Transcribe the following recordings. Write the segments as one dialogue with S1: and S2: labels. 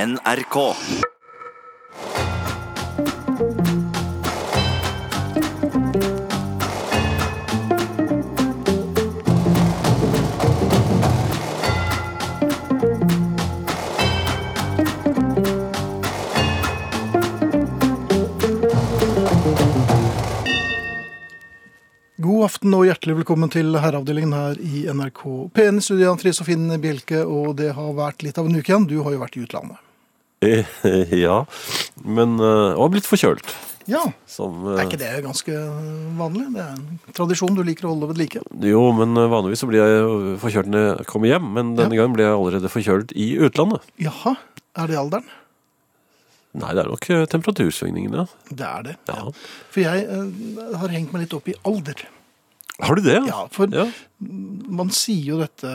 S1: NRK.
S2: God aften og hjertelig velkommen til herreavdelingen her i NRK P1 i studio, Ann Fri Sofien Bjelke. Og det har vært litt av en uke igjen. Du har jo vært i utlandet.
S3: Eh, Ja, men eh, Og har blitt forkjølt.
S2: Ja,
S3: Som,
S2: er
S3: eh,
S2: ikke det ganske vanlig? Det er en tradisjon du liker å holde ved like.
S3: jo, men eh, vanligvis så blir jeg jo forkjølt når jeg kommer hjem, men denne gangen ble jeg allerede forkjølt i utlandet.
S2: Jaha, er det alderen?
S3: Nei, det er nok eh, temperatursvingningene.
S2: Det er det.
S3: Ja.
S2: For jeg eh, har hengt meg litt opp i alder.
S3: Har du det?
S2: Ja, for
S3: Ja.
S2: man sier jo dette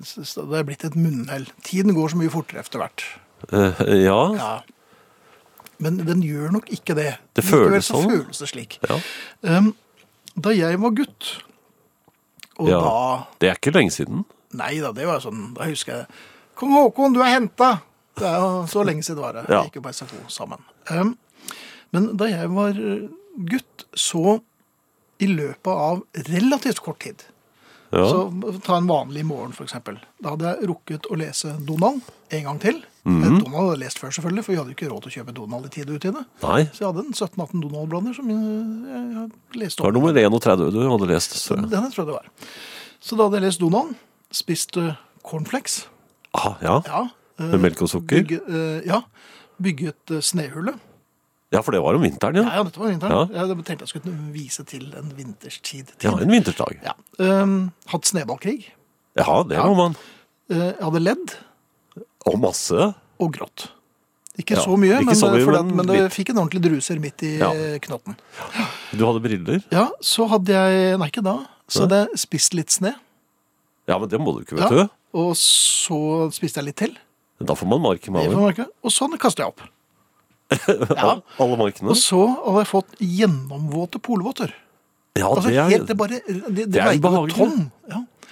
S2: Det er blitt et munnhell. Tiden går så mye fortere etter hvert.
S3: Eh, ja.
S2: Ja. Men den gjør nok ikke det.
S3: Det
S2: Likevel
S3: føles
S2: så
S3: sånn.
S2: føles det slik.
S3: ja.
S2: Um, da jeg var gutt, og
S3: Ja.
S2: da
S3: Det er ikke lenge siden.
S2: Nei da, det var sånn Da husker jeg Kong Haakon, du er henta! Det er jo så lenge siden det var. det. Vi
S3: Ja.
S2: gikk jo på SFO sammen. Um, men da jeg var eh, gutt, så i løpet av relativt kort tid
S3: Ja.
S2: Så ta en vanlig morgen, f.eks. Da hadde jeg rukket å lese Donald en gang til.
S3: Mhm.
S2: Eh, Donald hadde jeg lest før, selvfølgelig, for vi hadde jo ikke råd til å kjøpe Donald i tide og utide.
S3: Nei.
S2: Så jeg hadde en 17-18 Donald-blander som jeg, jeg leste
S3: Det var
S2: opp.
S3: nummer 31 du hadde lest. Så.
S2: Denne tror jeg det var. Så da hadde jeg lest Donald, spist eh, cornflakes.
S3: Ah, ja.
S2: Ja. eh,
S3: Med melk og sukker?
S2: Bygge, eh, ja. Bygget eh, snehullet.
S3: ja, for det var om vinteren,
S2: Ja,
S3: ja.
S2: ja, dette var vinteren.
S3: Ja.
S2: Jeg tenkte jeg skulle vise til en vinterstid. til.
S3: Ja, en vinterdag.
S2: Ja. Eh, hatt snøballkrig.
S3: Ja, det
S2: Ja.
S3: må man.
S2: Eh, jeg hadde ledd.
S3: Og masse.
S2: og grått. Ikke
S3: Ja,
S2: så mye,
S3: ikke
S2: men,
S3: så mye,
S2: fordi at,
S3: men
S2: men det
S3: litt.
S2: fikk en ordentlig druser midt i
S3: Ja.
S2: eh, knotten.
S3: Du hadde briller.
S2: Ja, så hadde jeg Nei, ikke da. Så hadde jeg spist litt sne.
S3: Ja, men det må du ikke, vet
S2: Ja, og så spiste jeg litt til.
S3: du. Da får man mark i
S2: Det får
S3: magen.
S2: man merke. Og sånn kastet jeg opp. Ja.
S3: Al- Alle markene.
S2: Og så hadde jeg fått gjennomvåte polvotter.
S3: Ja,
S2: Altså,
S3: det
S2: helt, det
S3: er,
S2: bare Det,
S3: det
S2: det
S3: er
S2: veide noe
S3: ubehagelig.
S2: tonn. Ja.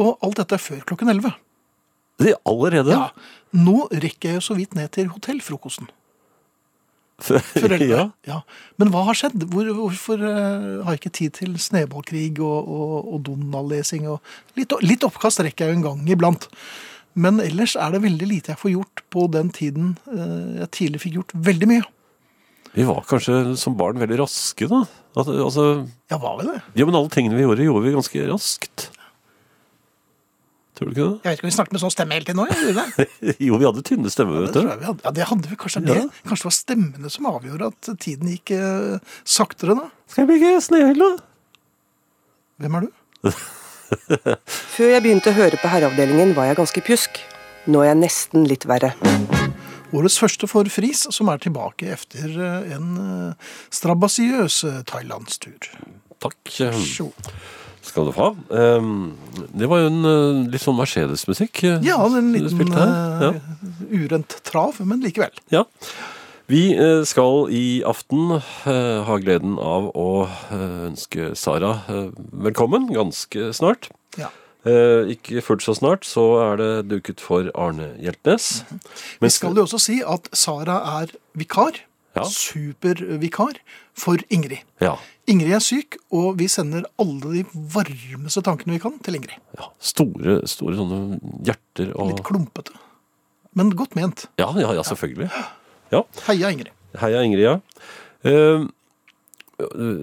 S2: Og alt dette er før klokken 11.
S3: det er allerede.
S2: Ja. Nå rekker jeg jo så vidt ned til hotellfrokosten. For eldre.
S3: ja.
S2: ja. Men hva har skjedd? Hvor, hvorfor eh, har jeg ikke tid til snøballkrig og, og, og Donald-lesing? Og litt, litt oppkast rekker jeg jo en gang iblant. Men ellers er det veldig lite jeg får gjort på den tiden eh, jeg tidligere fikk gjort veldig mye.
S3: Vi var kanskje som barn veldig raske, da. At, altså,
S2: Ja, hva var det?
S3: ja, men alle tingene vi gjorde, gjorde vi ganske raskt. Tror du ikke det?
S2: Jeg vet ikke om vi snakket med sånn stemme hele tiden nå. gjorde vi Det?
S3: Jo, vi hadde tynne stemmer,
S2: Det,
S3: vet
S2: tror
S3: du.
S2: jeg vi hadde. Ja, det hadde vi kanskje
S3: Ja.
S2: det. Kanskje det var stemmene som avgjorde at tiden gikk eh, saktere da.
S3: Skal jeg bygge snøhylle?
S2: Hvem er du?
S4: Før jeg begynte å høre på Herreavdelingen, var jeg ganske pjusk. Nå er jeg nesten litt verre.
S2: Årets første for Friis, som er tilbake etter eh, en eh, strabasiøs eh, thailandstur.
S3: Takk
S2: Sjo.
S3: skal du ha. Ehm, Det var jo en eh, litt sånn Mercedes-musikk eh,
S2: Ja, det er en
S3: du
S2: liten
S3: spilte her. Ja.
S2: eh, urent trav, men likevel.
S3: Ja. Vi eh, skal i aften eh, ha gleden av å eh, ønske Sara eh, velkommen ganske snart.
S2: Ja.
S3: Eh, Ikke fullt så snart, så er det duket for Arne Hjeltnes.
S2: Mhm. Vi skal jo også si at Sara er vikar,
S3: Ja.
S2: supervikar, for Ingrid.
S3: Ja.
S2: Ingrid er syk, og vi sender alle de varmeste tankene vi kan til Ingrid.
S3: ja store, store sånne hjerter og
S2: Litt klumpete, men godt ment.
S3: Ja, ja, ja selvfølgelig. Ja.
S2: Heia Ingrid.
S3: Heia Ingrid, ja. Eh,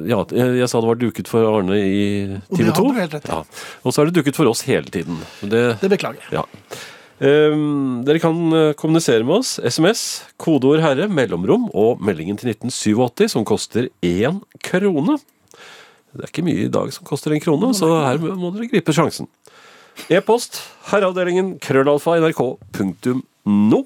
S3: ja, jeg, jeg sa det var duket for Arne i
S2: Og det
S3: time
S2: hadde
S3: to.
S2: du helt rett i.
S3: Ja. Og så er det duket for oss hele tiden. Det,
S2: Det beklager jeg.
S3: Ja. Ehm, dere kan eh, kommunisere med oss. SMS, kodeord 'herre', mellomrom og meldingen til 1987 som koster én krone. Det er ikke mye i dag som koster en krone, så her må dere gripe sjansen. E-post herreavdelingen krøllalfa nrk.no.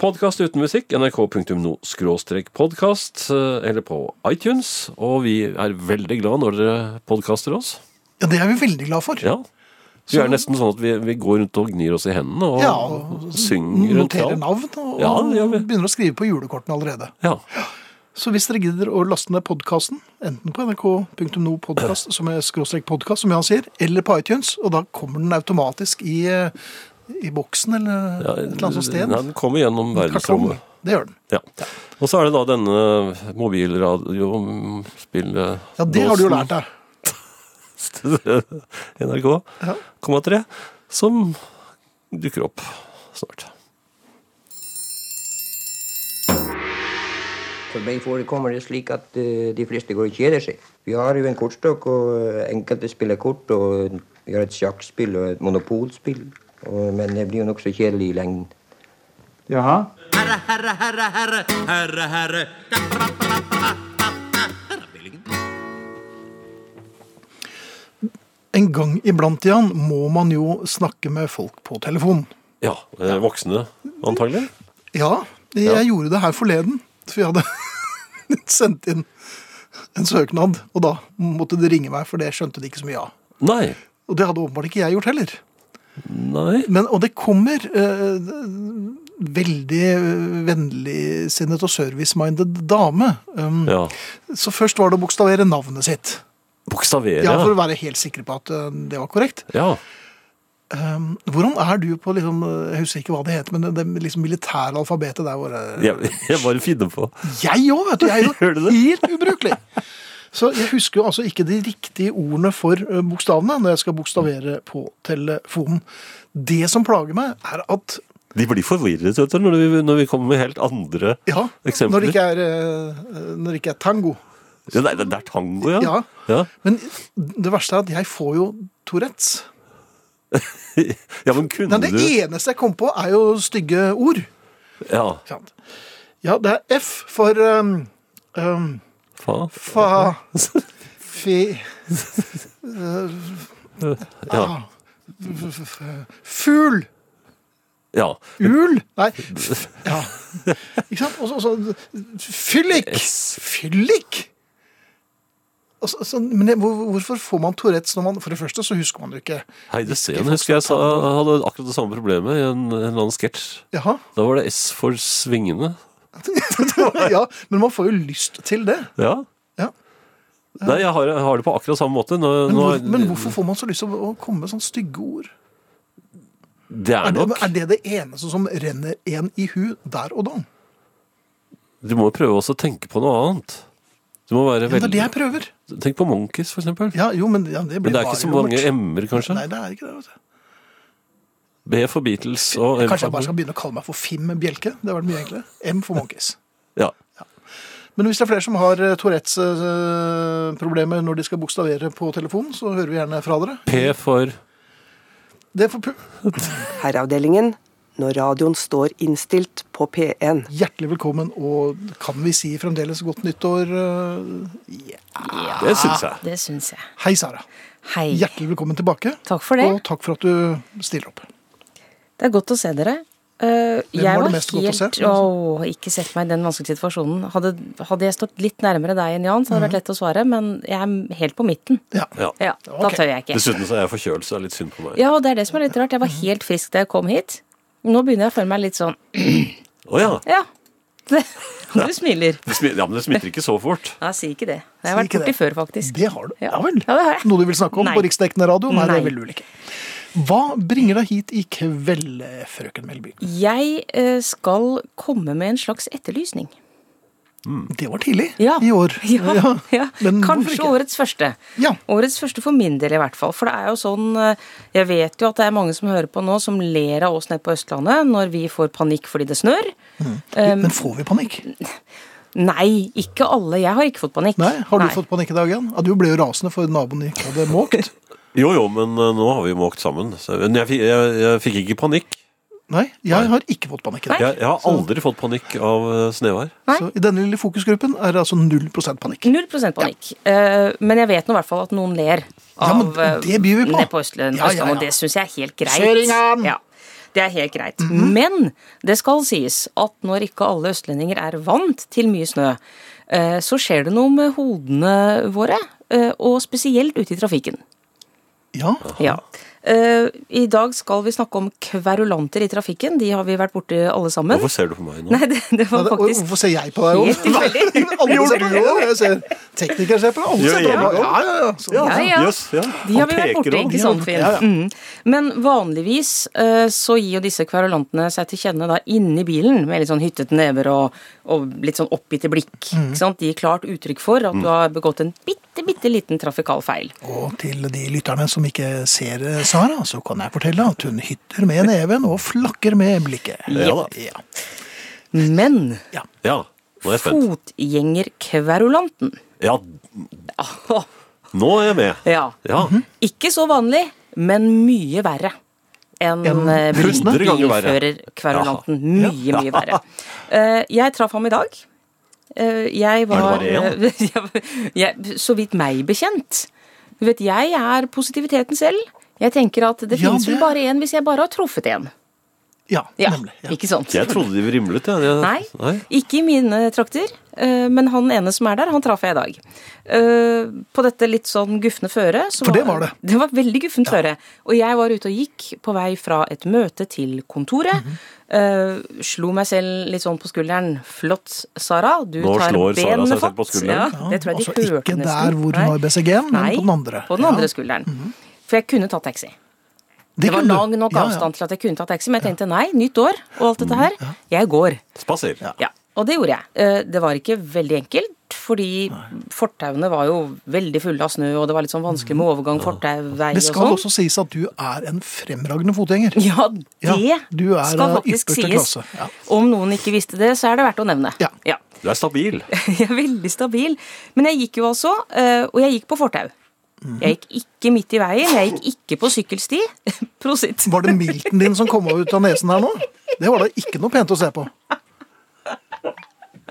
S3: Podkast uten musikk nrk.no skråstrek podkast eller på iTunes. Og vi er veldig glad når dere podkaster oss.
S2: Ja, det er vi veldig glad for.
S3: Ja. Vi er nesten sånn at vi, vi går rundt og gnir oss i hendene og,
S2: Ja,
S3: og
S2: og
S3: synger rundt.
S2: Noterer
S3: ja.
S2: Mm, navn og,
S3: Ja, det gjør vi.
S2: og begynner å skrive på julekortene allerede.
S3: Ja.
S2: Så hvis dere gidder å laste ned podkasten, enten på nrk.no podkast, som er skråstrek podkast, som Jan sier, eller på iTunes, og da kommer den automatisk i, eh, i boksen eller
S3: Ja,
S2: et eller annet sånt sted.
S3: Nei, den kommer gjennom verdensrommet.
S2: Kartong. Det gjør den.
S3: Ja. Og så er det da denne eh, mobilradiospillet
S2: Ja, det har du jo lært deg.
S3: NRK,3,
S2: Ja.
S3: som dukker opp snart.
S1: For meg forekommer det slik at eh, de fleste går og kjeder seg. Vi har jo en kortstokk, og eh, enkelte spiller kort. og Vi har et sjakkspill og et monopolspill. Og, men det blir jo nokså kjedelig i lengden.
S5: Jaha.
S2: En gang iblant, Jan, må man jo snakke med folk på telefon.
S3: Ja, eh, voksne antagelig.
S2: Ja, jeg
S3: Ja.
S2: gjorde det her forleden. For jeg hadde sendt inn en søknad, og da måtte de ringe meg, for det skjønte de ikke så mye av.
S3: Nei.
S2: Og det hadde åpenbart ikke jeg gjort heller.
S3: Nei.
S2: Men, og det kommer eh, veldig vennligsinnet og service-minded dame. Um,
S3: Ja.
S2: Så først var det å bokstavere navnet sitt.
S3: Bokstavere.
S2: Ja, For å
S3: Ja.
S2: være helt sikre på at eh, det var korrekt.
S3: ja.
S2: Um, hvordan er du på liksom, eh, Jeg husker ikke hva det heter, men det, det liksom militære alfabetet der hvor eh,
S3: Jeg, jeg bare finner på.
S2: Jeg òg, vet du! Jeg er
S3: Gjør du
S2: jo
S3: det?
S2: helt ubrukelig! Så jeg husker jo altså ikke de riktige ordene for eh, bokstavene når jeg skal bokstavere på telefonen. Det som plager meg, er at
S3: De blir forvirret vet du, når vi, når vi kommer med helt andre
S2: ja,
S3: eksempler.
S2: når det ikke er, eh, når det ikke er tango
S3: Ja, nei, det det er tango, ja.
S2: Ja.
S3: Ja.
S2: Men det verste er at jeg får jo Tourettes.
S3: Ja, men kunne
S2: Nei, det
S3: du
S2: eneste jeg kom på, er jo stygge ord.
S3: Ja,
S2: Ikke sant? Ja, det er F for um, um,
S3: faen.
S2: Fa... Fi...
S3: Ja.
S2: ah, f- f- f- Fugl!
S3: ja.
S2: Ul! Nei f- ja. Ikke sant? Og så- og så Fyllik!
S3: S.
S2: Fyllik! Og så- så- Men det- hvor- hvorfor får man Tourettes når man For det første så husker man det ikke.
S3: Heide Steen husker jeg sa, hadde akkurat det samme problemet i en, en eller annen sketsj.
S2: Jaha.
S3: Da var det S for svingende.
S2: ja, men man får jo lyst til det.
S3: Ja.
S2: Ja.
S3: Nei, jeg har, jeg har det på akkurat samme måte. Nå,
S2: Men,
S3: nå,
S2: hvor, men hvorfor får man så lyst til å å komme med sånne stygge ord?
S3: Det er
S2: Er det,
S3: nok
S2: er det det eneste som renner en i hu der og da?
S3: Du må prøve også å tenke på noe annet. Du må være
S2: Ja, men det er det
S3: veldig
S2: jeg prøver.
S3: Tenk på Monkeys, for eksempel.
S2: Ja, jo, men ja, det blir
S3: Men det er ikke så
S2: bare
S3: mange
S2: gjort.
S3: M-er, kanskje?
S2: Nei, det er ikke det. vet du.
S3: B for Beatles og M
S2: Kanskje jeg
S3: for
S2: bare skal begynne å kalle meg for Fim med Bjelke. Det var det mye enklere. M for Monkeys.
S3: Ja.
S2: Men hvis det er flere som har eh, Tourettes eh, problemer når de skal bokstavere på telefonen, så hører vi gjerne fra dere.
S3: P for
S2: Det får pu
S4: Herreavdelingen når radioen står innstilt på P1.
S2: Hjertelig velkommen, og kan vi si fremdeles godt nyttår? eh,
S3: Det syns jeg.
S6: Det syns jeg.
S2: Hei, Sara.
S6: Hei.
S2: Hjertelig velkommen tilbake.
S6: Takk for det.
S2: Og takk for at du stiller opp.
S6: Det er godt å se dere. Eh, jeg
S2: var
S6: var,
S2: det mest godt å
S6: helt
S2: se?
S6: Åh, Ikke sett meg i den vanskelige situasjonen. Hadde, hadde jeg stått litt nærmere deg enn Jan, så hadde det vært lett å svare, men jeg er helt på midten.
S2: Mhm. Ja.
S3: Ja.
S6: Ja, Da
S2: Ok.
S6: tør jeg ikke.
S3: Dessuten så er jeg forkjølt, så det er litt synd på meg. Å ja.
S6: Ja, og det er det som er litt rart. Jeg
S2: Mhm.
S6: var helt frisk da jeg kom hit. Nå begynner jeg å føle meg litt sånn Ja. Det, du smiler.
S3: Det smi- ja, men det smitter ikke så fort.
S6: Nei, si ikke det. Det har
S2: Si
S6: jeg vært
S2: ikke
S6: borti
S2: det.
S6: før, faktisk.
S2: Det har du. Ja,
S6: Ja.
S2: vel.
S6: Ja, det har jeg.
S2: Noe du vil snakke om
S6: Nei.
S2: på riksdekkende radio? Nei, det
S6: Nei.
S2: vil du vel ikke. Hva bringer deg hit i kveld, frøken Melby?
S6: Jeg eh, skal komme med en slags etterlysning.
S2: Det var tidlig
S6: Ja.
S2: i år.
S6: Ja, ja.
S2: Men hvorfor
S6: Kanskje
S2: ikke?
S6: årets første.
S2: Ja.
S6: Årets første for min del i hvert fall. For det er jo sånn eh, Jeg vet jo at det er mange som hører på nå, som ler av oss nede på Østlandet når vi får panikk fordi det snør. um,
S2: Men får vi panikk?
S6: Nei, ikke alle. Jeg har ikke fått panikk.
S2: Nei, Har du fått panikk i dag igjen? Ja, du ble jo rasende for naboen din ikke hadde måkt.
S3: Jo jo, men eh, nå har vi måkt sammen. Så, men jeg, fikk- jeg, jeg fikk ikke panikk.
S2: Nei, jeg har ikke fått panikk i dag.
S3: Jeg, jeg har aldri fått panikk av eh, snevær.
S6: Nei. Mm.
S2: Så i denne lille fokusgruppen er det altså 0 panikk.
S6: Null prosent panikk. Eh, men jeg vet nå i hvert fall at noen ler
S2: Ja,
S6: av
S2: men det byr vi på.
S6: eh, nede på Østlandet.
S2: Ja, ja, ja.
S6: Og det syns jeg er helt greit.
S2: Søringen!
S6: Ja, det er helt greit.
S2: Mhm.
S6: Men det skal sies at når ikke alle østlendinger er vant til mye snø, eh, så skjer det noe med hodene våre. eh, Og spesielt ute i trafikken.
S2: Ja,
S6: Ja. Eh, I dag skal vi snakke om kverulanter i trafikken. De har vi vært borti alle sammen.
S3: Hvorfor ser du på meg nå?
S6: Nei, det, det var
S2: Nei, det- oi,
S6: faktisk
S2: Hvorfor ser jeg på deg
S6: Helt
S2: òg?
S6: tilfeldig.
S2: Alle ser på meg også. Jeg ser teknikere ser på deg. Alle
S3: Gjør
S2: ser på
S3: jeg?
S2: meg også. Ja, ja, ja. Så-
S6: Ja, ja.
S3: Jøss, ja.
S6: De har
S3: Han
S6: vi vært
S3: peker
S6: borti,
S3: også.
S6: ikke sant, Finn?
S2: Ja, ja.
S6: Mm. Men vanligvis eh, så gir jo disse kverulantene seg til kjenne da inni bilen, med litt sånn hyttete never og, og litt sånn oppgitte blikk. Ikke sant? De gir klart uttrykk for at du har begått en bitte, bitte liten trafikal feil.
S2: Og til de lytterne som ikke ser eh, Sara, så kan jeg fortelle at hun hytter med neven og flakker med blikket.
S3: Ja da.
S2: Ja.
S6: Men
S2: Ja.
S3: Ja, nå er jeg spent.
S6: fotgjengerkverulanten
S3: Ja, nå er jeg med.
S6: Ja. Mhm.
S3: Ja,
S6: Ikke så vanlig, men mye verre enn eh, bil-
S3: Hundre ganger verre.
S6: bilførerkverulanten. Mye, mye verre. Eh, Jeg traff ham i dag. Eh, Jeg
S3: Er
S6: var
S3: det bare
S6: jeg, Så vidt meg bekjent. Du vet, jeg er positiviteten selv. Jeg tenker at det
S2: Ja,
S6: finnes
S2: det-
S6: vel bare én hvis jeg bare har truffet én.
S2: ja,
S6: Ja,
S2: nemlig. Ja.
S6: Ikke sant?
S3: jeg trodde de vrimlet, jeg. jeg.
S6: Nei, ikke i mine trakter. eh, Men han ene som er der, han traff jeg i dag. Eh, På dette litt sånn gufne føret så
S2: For det var det.
S6: Det var veldig guffent føre. Og jeg var ute og gikk på vei fra et møte til kontoret.
S2: Mhm.
S6: eh, Slo meg selv litt sånn på skulderen. Flott, Sara. Du
S3: Nå
S6: tar
S3: slår Sara
S6: benene
S3: seg selv på
S6: fatt.
S3: skulderen.
S6: Ja, det tror jeg
S2: altså
S6: de hørte
S2: ikke
S6: nesten.
S2: der hvor hun
S6: Nei.
S2: har BCG-en, men
S6: Nei,
S2: på den andre.
S6: På den
S2: Ja. Mhm.
S6: andre skulderen. For jeg kunne tatt taxi. Det var
S2: kunne du.
S6: lang nok
S2: Ja, Mhm. ja.
S6: avstand til at jeg kunne tatt taxi, men jeg tenkte nei, nytt år og alt dette her. Jeg går.
S3: Spaser.
S6: Ja, og det gjorde jeg. Eh, Det var ikke veldig enkelt, fordi fortauene var jo veldig fulle av snø, og det var litt sånn vanskelig med overgang, fortauvei
S2: Mm. Det
S6: og
S2: skal
S6: sånn.
S2: også sies at du er en fremragende fotgjenger.
S6: Ja, det
S2: Ja, du er
S6: skal
S2: av
S6: faktisk
S2: ypperste
S6: sies.
S2: klasse, ja.
S6: Om noen ikke visste det, så er det verdt å nevne.
S2: Ja.
S6: ja.
S3: Du er stabil.
S6: Jeg er veldig stabil. Men jeg gikk jo altså, eh, og jeg gikk på fortau.
S2: Mm.
S6: Jeg gikk ikke midt i veien, jeg gikk ikke på sykkelsti. Prosit.
S2: Var det milten din som kom ut av nesen her nå? Det var da ikke noe pent å se på.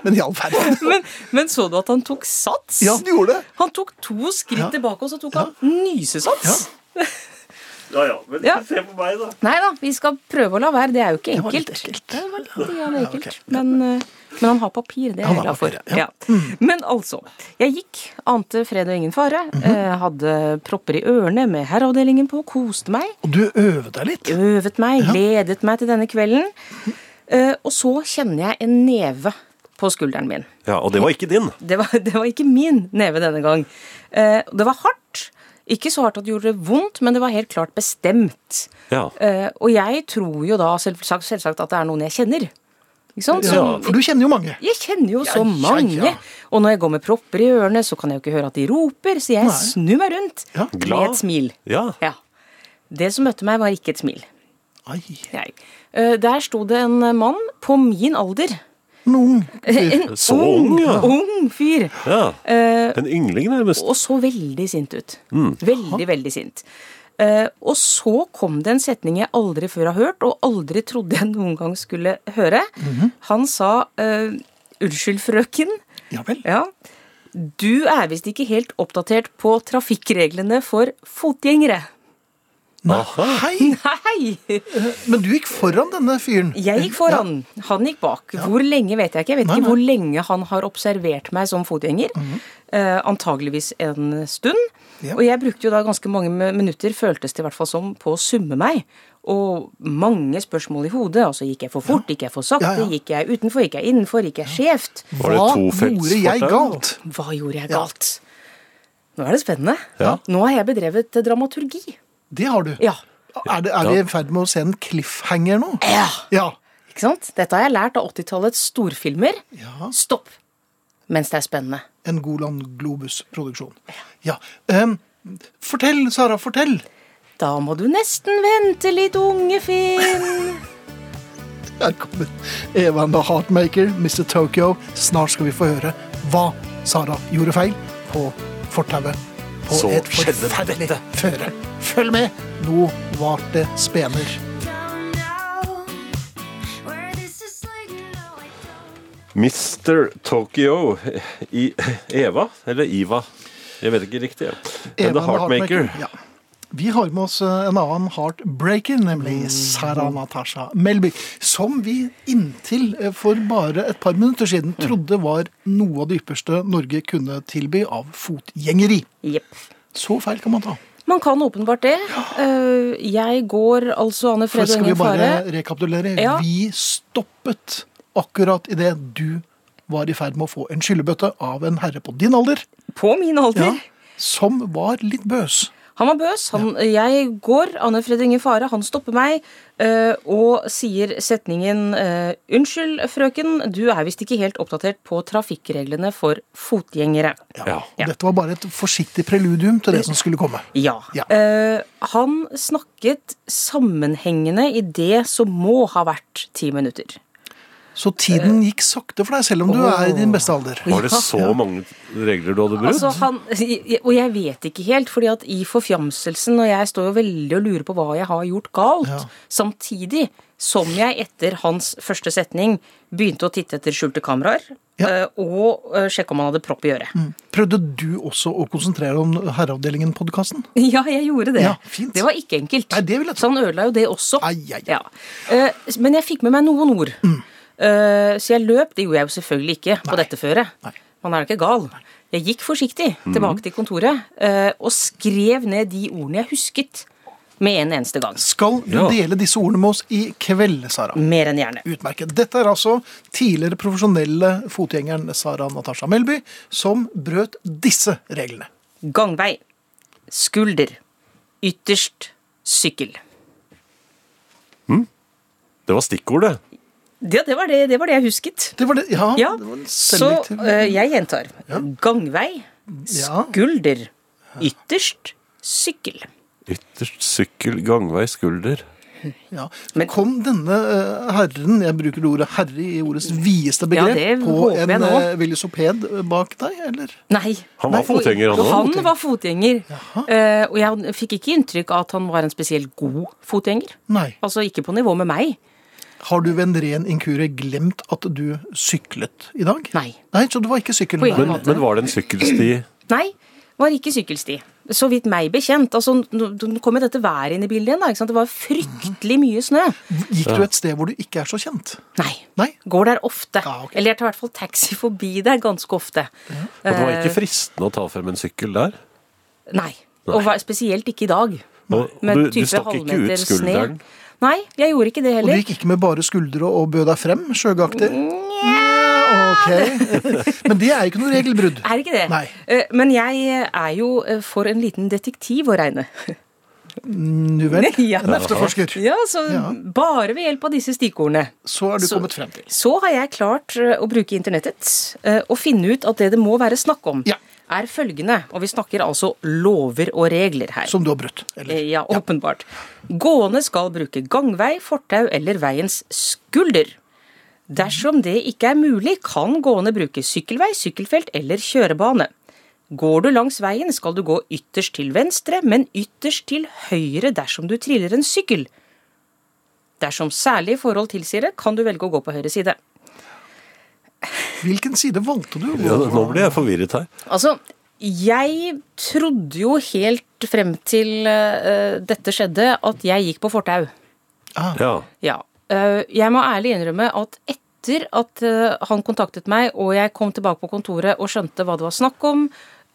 S2: Men i all verden.
S6: Men, men så du at han tok sats?
S2: Ja, du gjorde det.
S6: Han tok to skritt
S2: Ja.
S6: tilbake, og så tok han nysesats.
S3: Ja ja, men
S6: Ja.
S3: se på meg, da.
S6: Nei da, vi skal prøve å la være. Det er jo ikke
S2: var litt
S6: enkelt.
S2: ekkelt.
S6: Det var litt grann ekkelt.
S2: ok.
S6: Men, eh, men han har papir, det er
S2: Han
S6: jeg
S2: har
S6: glad for.
S2: papir, ja. Mm.
S6: Ja. Men altså, jeg gikk, ante fred og ingen fare.
S2: Mhm.
S6: eh, Hadde propper i ørene med herreavdelingen på, koste meg.
S2: Og du øvde deg litt.
S6: Øvet meg, gledet meg til denne kvelden. Eh, Og så kjenner jeg en neve på skulderen min.
S3: Ja, Og det var ikke din.
S6: Det var, det var ikke min neve denne gang. Eh, Det var hardt. Ikke så hardt at det gjorde vondt, men det var helt klart bestemt.
S3: Ja.
S6: Eh, og jeg tror jo da selvsagt, selvsagt at det er noen jeg kjenner. Ikke sant?
S2: Ja,
S6: Som-
S2: for du kjenner jo mange.
S6: Jeg kjenner jo
S2: Ja,
S6: så
S2: ja,
S6: mange.
S2: ja.
S6: Og når jeg går med propper i ørene, så kan jeg jo ikke høre at de roper, så jeg
S2: Nei.
S6: snur meg rundt
S2: Ja.
S6: med et smil.
S3: Ja.
S6: Ja. Det som møtte meg, var ikke et smil.
S2: Ai,
S6: Nei. Eh, Der sto det en mann på min alder.
S2: noen.
S6: En
S3: Så ung, ja.
S6: ung fyr.
S3: ja.
S6: Eh,
S3: En yngling, nærmest.
S6: og så veldig sint ut. Veldig, veldig sint. Eh, og så kom det en setning jeg aldri før har hørt, og aldri trodde jeg noen gang skulle høre. Han sa eh, 'Unnskyld, frøken'.
S2: Ja vel.
S6: Ja. Du er visst ikke helt oppdatert på trafikkreglene for fotgjengere.
S3: Aha.
S2: Hei.
S6: Nei!
S2: Men du gikk foran denne fyren.
S6: Jeg gikk foran, han gikk bak. Hvor lenge vet jeg ikke. Jeg vet
S2: Nei,
S6: ikke
S2: nei.
S6: hvor lenge han har observert meg som fotgjenger. eh, antageligvis en stund.
S2: Ja.
S6: Og jeg brukte jo da ganske mange mi- minutter, føltes det i hvert fall som, på å summe meg. Og mange spørsmål i hodet. Altså gikk jeg for fort, gikk jeg for sakte,
S2: Ja, ja.
S6: gikk jeg utenfor, gikk jeg innenfor, gikk jeg skjevt?
S3: Var det
S2: Hva
S3: tofelts
S2: gjorde jeg
S3: fortau?
S2: galt?
S6: Hva gjorde jeg galt? Nå er det spennende.
S3: Ja.
S6: Nå har jeg bedrevet eh, dramaturgi.
S2: Det har du.
S6: Ja.
S2: Er, det, er vi i ferd med å se en cliffhanger nå?
S6: ja.
S2: Ja.
S6: Ikke sant? Dette har jeg lært av 80-tallets storfilmer.
S2: Ja.
S6: Stopp mens det er spennende.
S2: En Golan Globus-produksjon. Ja. Em, fortell, Sara, fortell.
S6: Da må du nesten vente litt, unge Finn.
S2: Der kommer Eva and the Heartmaker, Mr. Tokyo. Snart skal vi få høre hva Sara gjorde feil på fortauet. På
S3: Så
S2: et
S3: skjedde
S2: forferdelig
S3: dette.
S2: føre. Følg med! Nå var det spener.
S5: don't know where this is leading. No, I don't.
S3: Mr. Tokyo i Eva, eller Iva. Jeg vet ikke riktig. Eva
S2: Eva
S3: The
S2: and the
S3: Heartmaker.
S2: Heartmaker, Ja. Vi har med oss eh, en annen heartbreaker, nemlig Sara
S3: Mm.
S2: Natasha Melby. Som vi inntil eh, for bare et par minutter siden
S3: Mm.
S2: trodde var noe av det ypperste Norge kunne tilby av fotgjengeri.
S6: Jepp.
S2: Så feil kan man ta.
S6: Man kan åpenbart det. Eh, Jeg går altså Anne
S2: For
S6: Fred og
S2: skal vi
S6: ingen
S2: bare
S6: fare.
S2: rekapitulere.
S6: Ja.
S2: Vi stoppet akkurat idet du var i ferd med å få en skyllebøtte av en herre på din alder,
S6: På min alder.
S2: som var litt bøs.
S6: Han var bøs. Han, Jeg går, Anne Fred og ingen fare. Han stopper meg eh, og sier setningen eh, 'Unnskyld, frøken, du er visst ikke helt oppdatert på trafikkreglene for fotgjengere'.
S3: Ja.
S6: Ja.
S2: Dette var bare et forsiktig preludium til det som skulle komme.
S6: Ja.
S2: Ja.
S6: Eh, han snakket sammenhengende i det som må ha vært ti minutter.
S2: Så tiden
S6: Eh.
S2: gikk sakte for deg, selv om du er i din beste alder.
S3: Var det så mange regler du hadde brutt?
S6: Altså, han, og jeg vet ikke helt, fordi at i forfjamselsen, og jeg står jo veldig og lurer på hva jeg har gjort galt,
S2: Ja.
S6: samtidig som jeg etter hans første setning begynte å titte etter skjulte kameraer,
S2: Ja.
S6: eh, og eh, sjekke om han hadde propp i øret.
S2: Prøvde du også å konsentrere deg om Herreavdelingen-podkasten?
S6: Ja, jeg gjorde det.
S2: Ja, fint.
S6: Det var ikke enkelt.
S2: Nei, det vil jeg tro.
S6: Så han ødela jo det også.
S2: Ai, ai, ai.
S6: Ja. Eh, men jeg fikk med meg noen ord. Eh, så jeg løp. Det gjorde jeg jo selvfølgelig ikke på dette føret.
S2: Nei. Mhm.
S6: Man er jo ikke gal. Jeg gikk forsiktig tilbake til kontoret eh, og skrev ned de ordene jeg husket, med en eneste gang.
S2: Skal du
S3: Ja.
S2: dele disse ordene med oss i kveld, Sara?
S6: Mer enn gjerne.
S2: Utmerket. Dette er altså tidligere profesjonelle fotgjengeren Sara Natasha Melby som brøt disse reglene.
S6: Gangvei. Skulder. Ytterst. Sykkel.
S3: Det var stikkordet.
S6: Ja, det var det, det, var det jeg husket.
S2: Det var det, ja,
S6: Ja,
S2: det var en
S6: så
S2: selektiv-
S6: eh, jeg gjentar. Gangvei,
S2: Ja.
S6: skulder, ytterst, sykkel.
S3: Ytterst sykkel, gangvei, skulder.
S2: ja.
S6: men-
S2: Kom denne eh, herren, jeg bruker det ordet herre i ordets videste
S6: Ja,
S2: begrep,
S6: det
S2: på
S6: håper jeg
S2: en
S6: nå.
S2: eh, velosoped bak deg, eller?
S6: Nei.
S3: Han var
S6: Nei, for-
S3: fotgjenger, han også.
S6: Han var fotgjenger. Eh, og jeg fikk ikke inntrykk av at han var en spesielt god fotgjenger.
S2: Nei.
S6: Altså ikke på nivå med meg.
S2: Har du ved en ren inkurie glemt at du syklet i dag?
S6: Nei.
S2: Nei, Så du var ikke sykkel?
S6: På ingen
S3: Men,
S6: måte.
S3: men var det en sykkelsti
S6: Nei, var ikke sykkelsti. Så vidt meg bekjent. Altså, nå nå kom jo dette været inn i bildet igjen. da, ikke sant? Det var fryktelig
S2: Mhm.
S6: mye snø.
S2: Gikk du et sted hvor du ikke er så kjent?
S6: Nei.
S2: Nei.
S6: Går der ofte.
S2: Ja, ok.
S6: Eller jeg tar i hvert fall taxi forbi der ganske ofte.
S3: Og det var ikke
S6: Eh.
S3: fristende å ta frem en sykkel der?
S6: Nei. Og hva- spesielt ikke i dag.
S3: Og
S6: Med
S3: du, du
S6: type
S3: stakk ikke
S6: halvmeter
S3: ut
S6: sne.
S3: skulderen?
S6: Nei, jeg gjorde ikke det
S2: Og du
S6: heller.
S2: gikk ikke med bare skuldre og bød deg frem sjøgaktig? Nja, ok. Men det er jo ikke noe regelbrudd.
S6: Er ikke det?
S2: Nei.
S6: Eh, Men jeg er jo eh, for en liten detektiv å regne.
S2: Nu vel.
S6: Ja.
S2: En efterforsker.
S6: Ja, så bare ved hjelp av disse stikkordene.
S2: Så er du kommet frem til.
S6: Så har jeg klart eh, å bruke internettet eh, og finne ut at det det må være snakk om,
S2: Ja.
S6: er følgende, og vi snakker altså lover og regler her.
S2: Som du har brutt. Eller?
S6: Eh, Ja, åpenbart. Gående skal bruke gangvei, fortau eller veiens skulder. Dersom det ikke er mulig, kan gående bruke sykkelvei, sykkelfelt eller kjørebane. Går du langs veien, skal du gå ytterst til venstre, men ytterst til høyre dersom du triller en sykkel. Dersom særlige forhold tilsier det, kan du velge å gå på høyre side.
S2: Hvilken side valgte du?
S3: Ja, nå ble jeg forvirret her.
S6: Altså, jeg trodde jo helt frem til eh, dette skjedde, at jeg gikk på fortau.
S3: Ja.
S6: Ja. øh, Jeg må ærlig innrømme at etter at øh, han kontaktet meg, og jeg kom tilbake på kontoret og skjønte hva det var snakk om,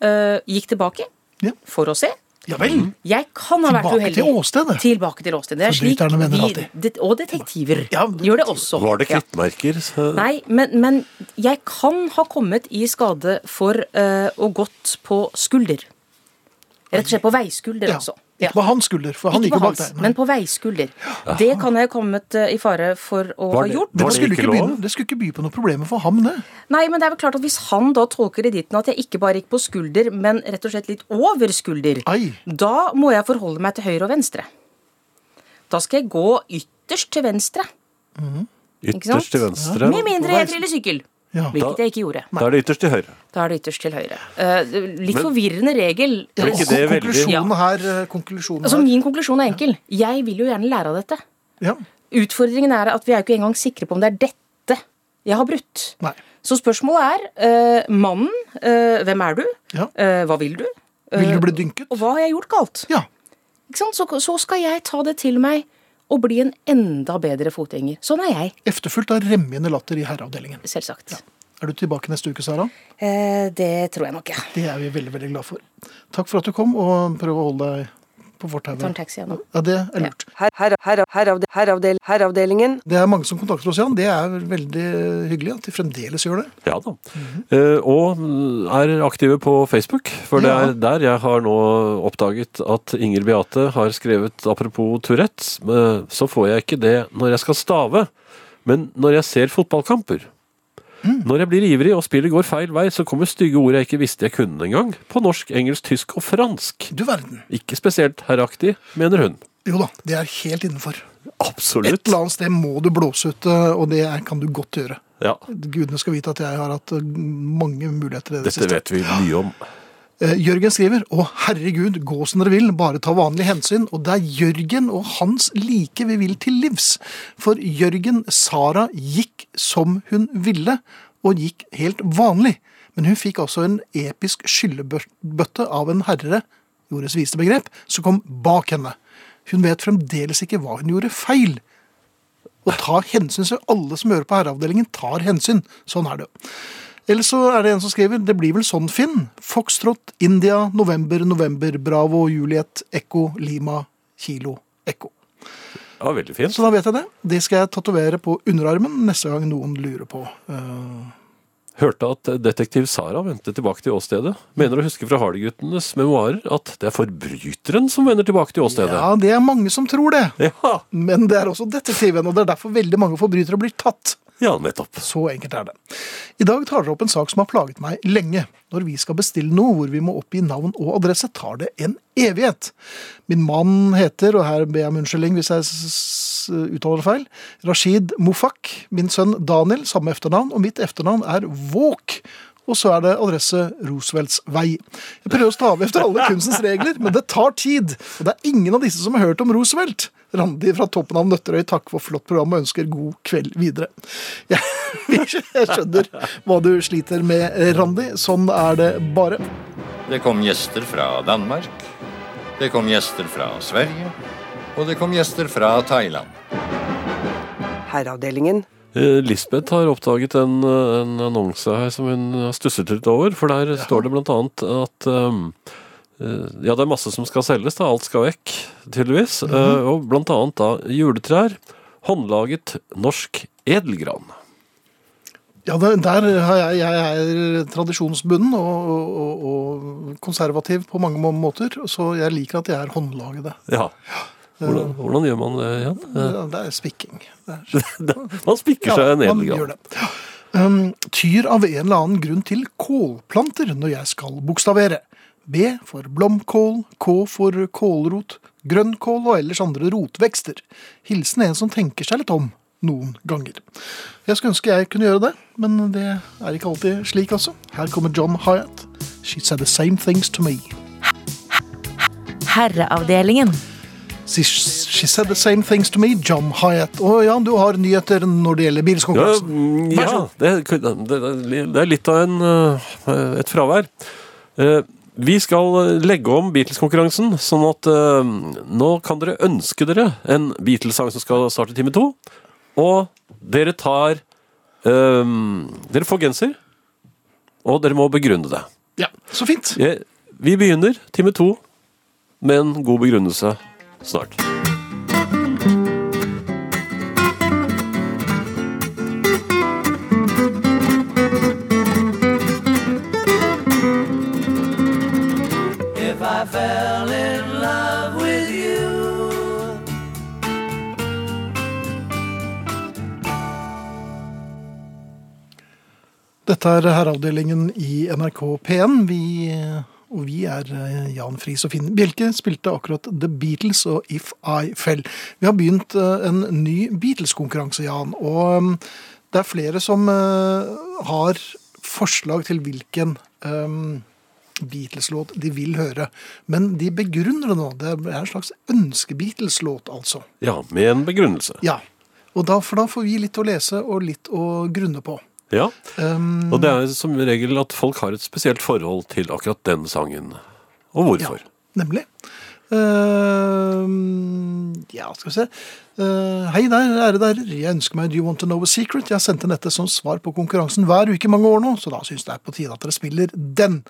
S6: øh, gikk tilbake
S2: Ja.
S6: for å se.
S2: Ja vel.
S3: Mm.
S6: Jeg kan ha vært
S2: Tilbake
S6: uheldig.
S2: til åstedet.
S6: Tilbake til åstedet. Det er slik
S2: Forbryterne mener
S6: vi-
S2: alltid.
S6: det- Og detektiver
S2: Ja,
S6: gjør det også.
S3: Var det
S6: Ja.
S3: krittmerker? Så-
S6: Nei, men, men jeg kan ha kommet i skade for øh, å gått på skulder. Rett og slett på veiskulder,
S2: Ja.
S6: altså. Ja.
S2: Ikke på hans skulder, for han
S6: Ikke
S2: gikk jo
S6: på
S2: bak
S6: hans,
S2: deg.
S6: men på veiskulder. Det kan jeg ha kommet eh, i fare for å
S3: Var
S6: ha
S3: det-
S6: gjort.
S3: var
S2: Det
S3: det
S2: skulle,
S3: ikke
S2: ikke
S3: lov?
S2: begynne, det skulle ikke by på noen problemer for ham, det.
S6: Nei, men det er vel klart at hvis han da tolker editten at jeg ikke bare gikk på skulder, men rett og slett litt over skulder,
S2: Ai.
S6: da må jeg forholde meg til høyre og venstre. Da skal jeg gå ytterst til venstre. ikke sant?
S3: Ytterst til venstre?
S6: Med mindre jeg triller sykkel.
S2: Ja.
S6: Hvilket jeg ikke gjorde.
S3: Da er det ytterst til høyre.
S6: Da er det ytterst til høyre. Eh, litt forvirrende regel.
S3: Men ikke det er veldig-
S2: konklusjonen her, eh, konklusjonen
S6: Altså,
S2: her.
S6: min konklusjon er enkel. Jeg vil jo gjerne lære av dette.
S2: Ja.
S6: Utfordringen er at vi er jo ikke engang sikre på om det er dette jeg har brutt.
S2: Nei.
S6: Så spørsmålet er eh, mannen, eh, hvem er du,
S2: Ja.
S6: Eh, hva vil du, Eh,
S2: Vil du bli dynket?
S6: og hva har jeg gjort galt?
S2: Ja.
S6: Ikke sant? Så, så skal jeg ta det til meg og bli en enda bedre fotgjenger. Sånn er jeg,
S2: Efterfulgt av remmende latter i herreavdelingen.
S6: selvsagt.
S2: Er du tilbake neste uke, Sara?
S6: Eh, det tror jeg nok, ja.
S2: Det er vi veldig, veldig glad for. Takk for at du kom, og prøv å holde deg på
S6: Tar en
S2: fortauet.
S6: taxi gjennom.
S2: Ja, det er lurt.
S4: Her, her, her, herravde, herravdel, herravdelingen.
S2: Det er mange som kontakter oss, Jan. Det er veldig hyggelig at de fremdeles gjør det.
S3: Ja da. Eh, Og mm, er aktive på Facebook, for det
S2: Ja.
S3: er der jeg har nå oppdaget at Inger Beate har skrevet apropos Tourettes, eh, så får jeg ikke det når jeg skal stave, men når jeg ser fotballkamper. Når jeg blir ivrig og spillet går feil vei, så kommer stygge ord jeg ikke visste jeg kunne engang, på norsk, engelsk, tysk og fransk.
S2: Du verden.
S3: Ikke spesielt herraktig, mener hun.
S2: Jo da, det er helt innenfor. Et
S3: Absolutt.
S2: eller annet sted må du blåse ut, eh, og det er- kan du godt gjøre.
S3: Ja,
S2: Gudene skal vite at jeg har hatt eh, mange muligheter i det
S3: dette
S2: siste.
S3: vet vi mye om.
S2: Eh, Jørgen skriver 'Å herregud, gå som dere vil, bare ta vanlige hensyn'. Og det er Jørgen og hans like vi vil til livs. For Jørgen Sara gikk som hun ville, og gikk helt vanlig. Men hun fikk altså en episk skyllebøtte av en herre, jordets viste begrep, som kom bak henne. Hun vet fremdeles ikke hva hun gjorde feil. Og ta hensyn, så alle som hører på herreavdelingen tar hensyn. Sånn er det jo. Eller så er det en som skriver Det blir vel sånn, Finn. Foxtrot, India, november, november, Bravo, Juliet, Ekko, Lima, Kilo, Ekko.
S3: Ja, veldig fint.
S2: Så da vet jeg det. Det skal jeg tatovere på underarmen neste gang noen lurer på. eh,
S3: Hørte at detektiv Sara vendte tilbake til åstedet. Mener å huske fra Hardy-guttenes memoarer at det er forbryteren som vender tilbake til åstedet.
S2: ja, det er mange som tror det.
S3: Ja, ja,
S2: Men det er også detektiven, og det er derfor veldig mange forbrytere blir tatt.
S3: nettopp.
S2: Så enkelt er det. I dag tar dere opp en sak som har plaget meg lenge. Når vi skal bestille noe hvor vi må oppgi navn og adresse, tar det en evighet. Min mann heter, og her ber jeg om unnskyldning hvis jeg s- s- uttaler det feil, Rashid Mofak. Min sønn Daniel, samme etternavn, og mitt etternavn er Våk. Og så er det adresse Roosevelts vei. Jeg prøver å stave efter alle kunstens regler, men det tar tid. Og det er ingen av disse som har hørt om Roosevelt. Randi fra toppen av Nøtterøy takker for flott program og ønsker god kveld videre. Jeg, jeg skjønner hva du sliter med, Randi. Sånn er det bare.
S7: Det kom gjester fra Danmark. Det kom gjester fra Sverige. Og det kom gjester fra Thailand.
S4: Herreavdelingen.
S3: Eh, Lisbeth har oppdaget en, eh, en annonse her som hun har stusset litt over, for der står det blant annet at ehm, eh, ja, det er masse som skal selges, da. Alt skal vekk, tydeligvis.
S2: Mhm.
S3: Eh, Og blant annet da juletrær. Håndlaget norsk edelgran.
S2: Ja, det- der har jeg, jeg er tradisjonsbunden og, og, og konservativ på mange må- måter, så jeg liker at jeg er håndlagede.
S3: Ja. Hvordan, hvordan gjør man det igjen? Eh,
S2: Det det er spikking. Det er
S3: Man spikker seg en
S2: man
S3: edelgran.
S2: gjør det. Ja. Um, tyr av en eller annen grunn til kålplanter når jeg skal bokstavere. B for blomkål, K for kålrot, grønnkål og ellers andre rotvekster. Hilsen en som tenker seg litt om noen ganger. Jeg skulle ønske jeg kunne gjøre det, men det er ikke alltid slik, altså. Her kommer John Hyatt. She said the same things to me.
S8: Herreavdelingen.
S2: She, she said the same things to me, John Hyatt. Og Jan, du har nyheter når det gjelder
S3: Ja,
S2: bilskonkurransen.
S3: mm,
S2: Vær
S3: ja
S2: så
S3: det, kunne- det, det det er litt av en, eh, et fravær. Eh, Vi skal legge om Beatles-konkurransen, sånn at eh, nå kan dere ønske dere en Beatles-sang som skal starte time to. Og dere tar eh, Dere får genser, og dere må begrunne det.
S2: Ja, så fint.
S3: Jeg, vi begynner time to med en god begrunnelse snart.
S2: Dette er herreavdelingen i NRK P1. Vi, og vi er eh, Jan Friis og Finn Bjelke. Spilte akkurat The Beatles og If I Fell. Vi har begynt eh, en ny Beatles-konkurranse, Jan. Og eh, det er flere som eh, har forslag til hvilken eh, Beatles-låt de vil høre. Men de begrunner det nå. Det er en slags ønske-Beatles-låt, altså.
S3: Ja, med en begrunnelse.
S2: Ja. Og da, for da får vi litt å lese og litt å grunne på.
S3: Ja.
S2: Um,
S3: Og det er som regel at folk har et spesielt forhold til akkurat den sangen. Og hvorfor.
S2: Ja, nemlig. Eh, ja, skal vi se. Eh, hei der, ære der. Jeg ønsker meg Do You Want To Know A Secret. Jeg sendte dette som svar på konkurransen hver uke i mange år nå, så da syns det er på tide at dere spiller den.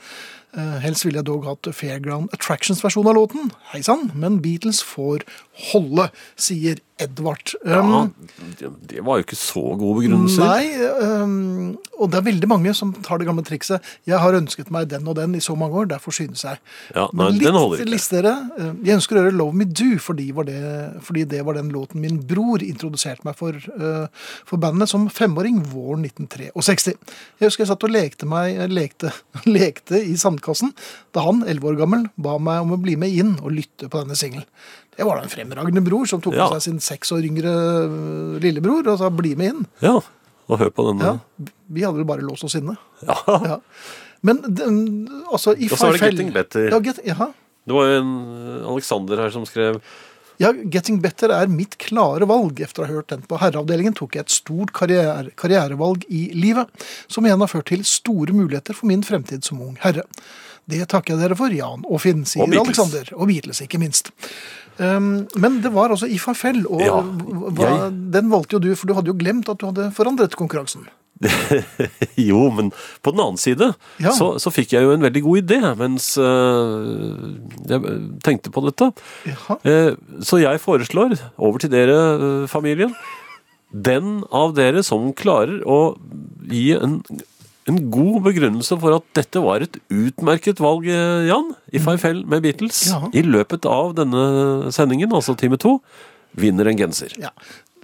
S2: Eh, helst ville jeg dog hatt Fairground Attractions-versjon av låten. Hei sann, men Beatles får holde, sier Edvard.
S3: Ja,
S2: Um,
S3: det- det var jo ikke så gode begrunnelser.
S2: Nei, øhm, og det er veldig mange som tar det gamle trikset. Jeg har ønsket meg den og den i så mange år, derfor synes jeg.
S3: Ja,
S2: Men
S3: nei, den holder ikke.
S2: List dere. øh, Jeg ønsker å høre Love Me Do, fordi, var det, fordi det var den låten min bror introduserte meg for, øh, for bandet som femåring våren 1963. Jeg husker jeg satt og lekte, meg, lekte, lekte i sandkassen da han, 11 år gammel, ba meg om å bli med inn og lytte på denne singelen. Det var da en fremragende bror som tok
S3: Ja.
S2: på seg sin seks år yngre øh, lillebror og sa 'bli med inn'.
S3: Ja, og hør på denne.
S2: Ja, vi hadde vel bare låst oss inne.
S3: Ja.
S2: Ja. Men den- altså i
S3: Og så er det
S2: Farfell-
S3: Getting Better.
S2: Ja, get, ja.
S3: Det var jo en eh, Alexander her som skrev
S2: ja, Getting Better er mitt klare valg. Etter å ha hørt den på herreavdelingen tok jeg et stort karriere, karrierevalg i livet, som igjen har ført til store muligheter for min fremtid som ung herre. Det takker jeg dere for, Jan og Finn, sier
S3: Og Beatles.
S2: Alexander. Og Beatles, ikke minst. Um, men det var altså i farfell, og
S3: Ja,
S2: hva, den valgte jo du, for du hadde jo glemt at du hadde forandret konkurransen.
S3: Jo, men på den annen side
S2: Ja.
S3: så, så fikk jeg jo en veldig god idé mens eh, jeg eh, tenkte på dette.
S2: Jaha.
S3: Eh, så jeg foreslår, over til dere, eh, familien, den av dere som klarer å gi en, en god begrunnelse for at dette var et utmerket valg, eh, Jan, i Farfell med Beatles,
S2: Mhm. Ja.
S3: i løpet av denne sendingen, altså time to, vinner en genser.
S2: Ja.